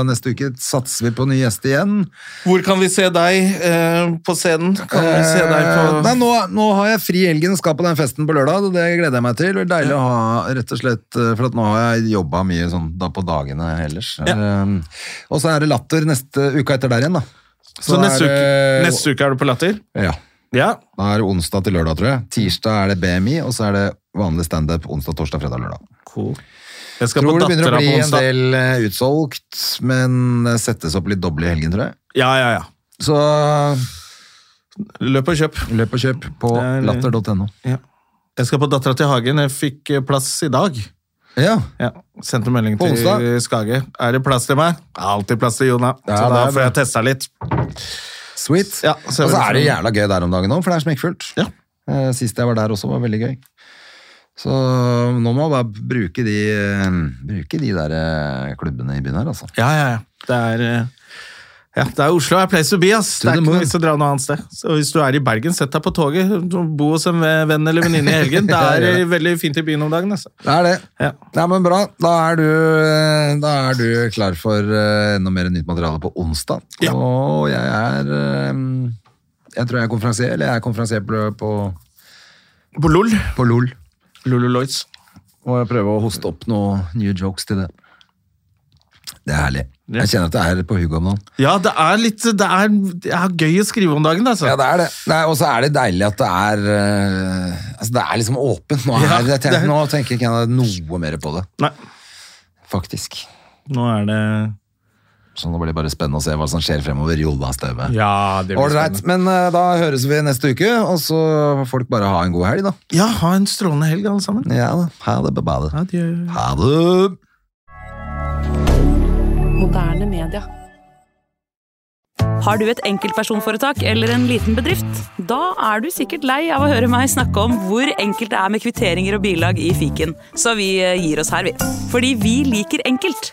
[SPEAKER 1] neste uke satser vi på ny gjest igjen.
[SPEAKER 2] Hvor kan vi se deg eh, på scenen? Kan vi se deg
[SPEAKER 1] Eh,
[SPEAKER 2] på
[SPEAKER 1] Nei, nå, nå har jeg fri i helgen, skal på den festen på lørdag, og det gleder jeg meg til. Det er deilig å ha, rett og slett, eh, for at nå har jeg jobba mye sånn da på dagene ellers. Eh, og så er det Latter neste uka etter der igjen, da.
[SPEAKER 2] Så
[SPEAKER 1] er
[SPEAKER 2] neste uke,
[SPEAKER 1] det-
[SPEAKER 2] neste uke er du på Latter?
[SPEAKER 1] Ja.
[SPEAKER 2] Ja.
[SPEAKER 1] Da er det onsdag til lørdag, tror jeg. Tirsdag er det BMI, og så er det vanlig standup onsdag, torsdag, fredag, lørdag.
[SPEAKER 2] Cool. Jeg skal
[SPEAKER 1] tror
[SPEAKER 2] på
[SPEAKER 1] det begynner å
[SPEAKER 2] Dattera på
[SPEAKER 1] bli en
[SPEAKER 2] onsdag.
[SPEAKER 1] del eh, utsolgt, men det settes opp litt doble i helgen, tror jeg.
[SPEAKER 2] Ja, ja, ja.
[SPEAKER 1] Så
[SPEAKER 2] Løp og kjøp.
[SPEAKER 1] løp og kjøp på
[SPEAKER 2] Det er-
[SPEAKER 1] latter.no.
[SPEAKER 2] Jeg skal på Dattera til Hagen. Jeg fikk eh, plass i dag.
[SPEAKER 1] Ja,
[SPEAKER 2] Ja, Sendte melding
[SPEAKER 1] På
[SPEAKER 2] til
[SPEAKER 1] onsdag?
[SPEAKER 2] Skage. Er det plass til meg? Alltid plass til Jona.
[SPEAKER 1] Ja,
[SPEAKER 2] så
[SPEAKER 1] det
[SPEAKER 2] da
[SPEAKER 1] er
[SPEAKER 2] får
[SPEAKER 1] bra.
[SPEAKER 2] jeg testa litt.
[SPEAKER 1] sweet.
[SPEAKER 2] Ja,
[SPEAKER 1] og så
[SPEAKER 2] så er det
[SPEAKER 1] er det
[SPEAKER 2] liksom-
[SPEAKER 1] jævla gøy der om dagen òg, for det er smekkfullt.
[SPEAKER 2] Ja.
[SPEAKER 1] Eh, Sist jeg var der også, var veldig gøy. Så nå må jeg bare bruke de, eh, bruke de der eh, klubbene i byen her, altså.
[SPEAKER 2] Ja, ja, ja. Det er, eh, ja, det er Oslo er place to be, ass.
[SPEAKER 1] To
[SPEAKER 2] Det er
[SPEAKER 1] the
[SPEAKER 2] ikke noe
[SPEAKER 1] moon.
[SPEAKER 2] vits å dra noe annet sted. Så hvis du er i Bergen, sett deg på toget. Bo hos en ve- venn eller venninne i
[SPEAKER 1] (laughs)
[SPEAKER 2] helgen. Det
[SPEAKER 1] Ja,
[SPEAKER 2] er
[SPEAKER 1] gjør
[SPEAKER 2] eh, veldig fint i byen om dagen, altså.
[SPEAKER 1] Det er det.
[SPEAKER 2] Ja.
[SPEAKER 1] Nei, men bra. Da er du, eh, da er du klar for eh, enda mer nytt materiale på onsdag.
[SPEAKER 2] Ja.
[SPEAKER 1] Og jeg er eh, Jeg tror jeg er konferansier, eller jeg er konferansier på, på,
[SPEAKER 2] På LOL.
[SPEAKER 1] på LOL.
[SPEAKER 2] Lolo Lloyds.
[SPEAKER 1] Og jeg prøver å hoste opp noen nye jokes til det. Det er herlig.
[SPEAKER 2] Ja.
[SPEAKER 1] Jeg kjenner at det er på huget om dagen.
[SPEAKER 2] Ja, det er litt det er, det er gøy å skrive om dagen, altså.
[SPEAKER 1] Ja, det er det. Nei, og så er det deilig at det er eh, Altså, det er liksom åpent. Nå, er,
[SPEAKER 2] Ja,
[SPEAKER 1] jeg
[SPEAKER 2] det
[SPEAKER 1] tenker,
[SPEAKER 2] er-
[SPEAKER 1] nå tenker ikke jeg noe mer på det,
[SPEAKER 2] Nei,
[SPEAKER 1] faktisk.
[SPEAKER 2] nå er det
[SPEAKER 1] Så nå blir det bare spennende å se hva som skjer fremover. Jolla Støve.
[SPEAKER 2] Ja, det blir
[SPEAKER 1] Ålreit,
[SPEAKER 2] spennende.
[SPEAKER 1] men eh, da høres vi neste uke, og så får folk bare ha en god helg, da.
[SPEAKER 2] Ja, ha en strålende helg, alle sammen.
[SPEAKER 1] Ja da. Ha det, babade.
[SPEAKER 2] Adjø.
[SPEAKER 1] Ha det!
[SPEAKER 3] Moderne media. Har du et enkeltpersonforetak eller en liten bedrift? Da er du sikkert lei av å høre meg snakke om hvor enkelt det er med kvitteringer og bilag i fiken, så vi eh, gir oss her, vi. Fordi vi liker enkelt.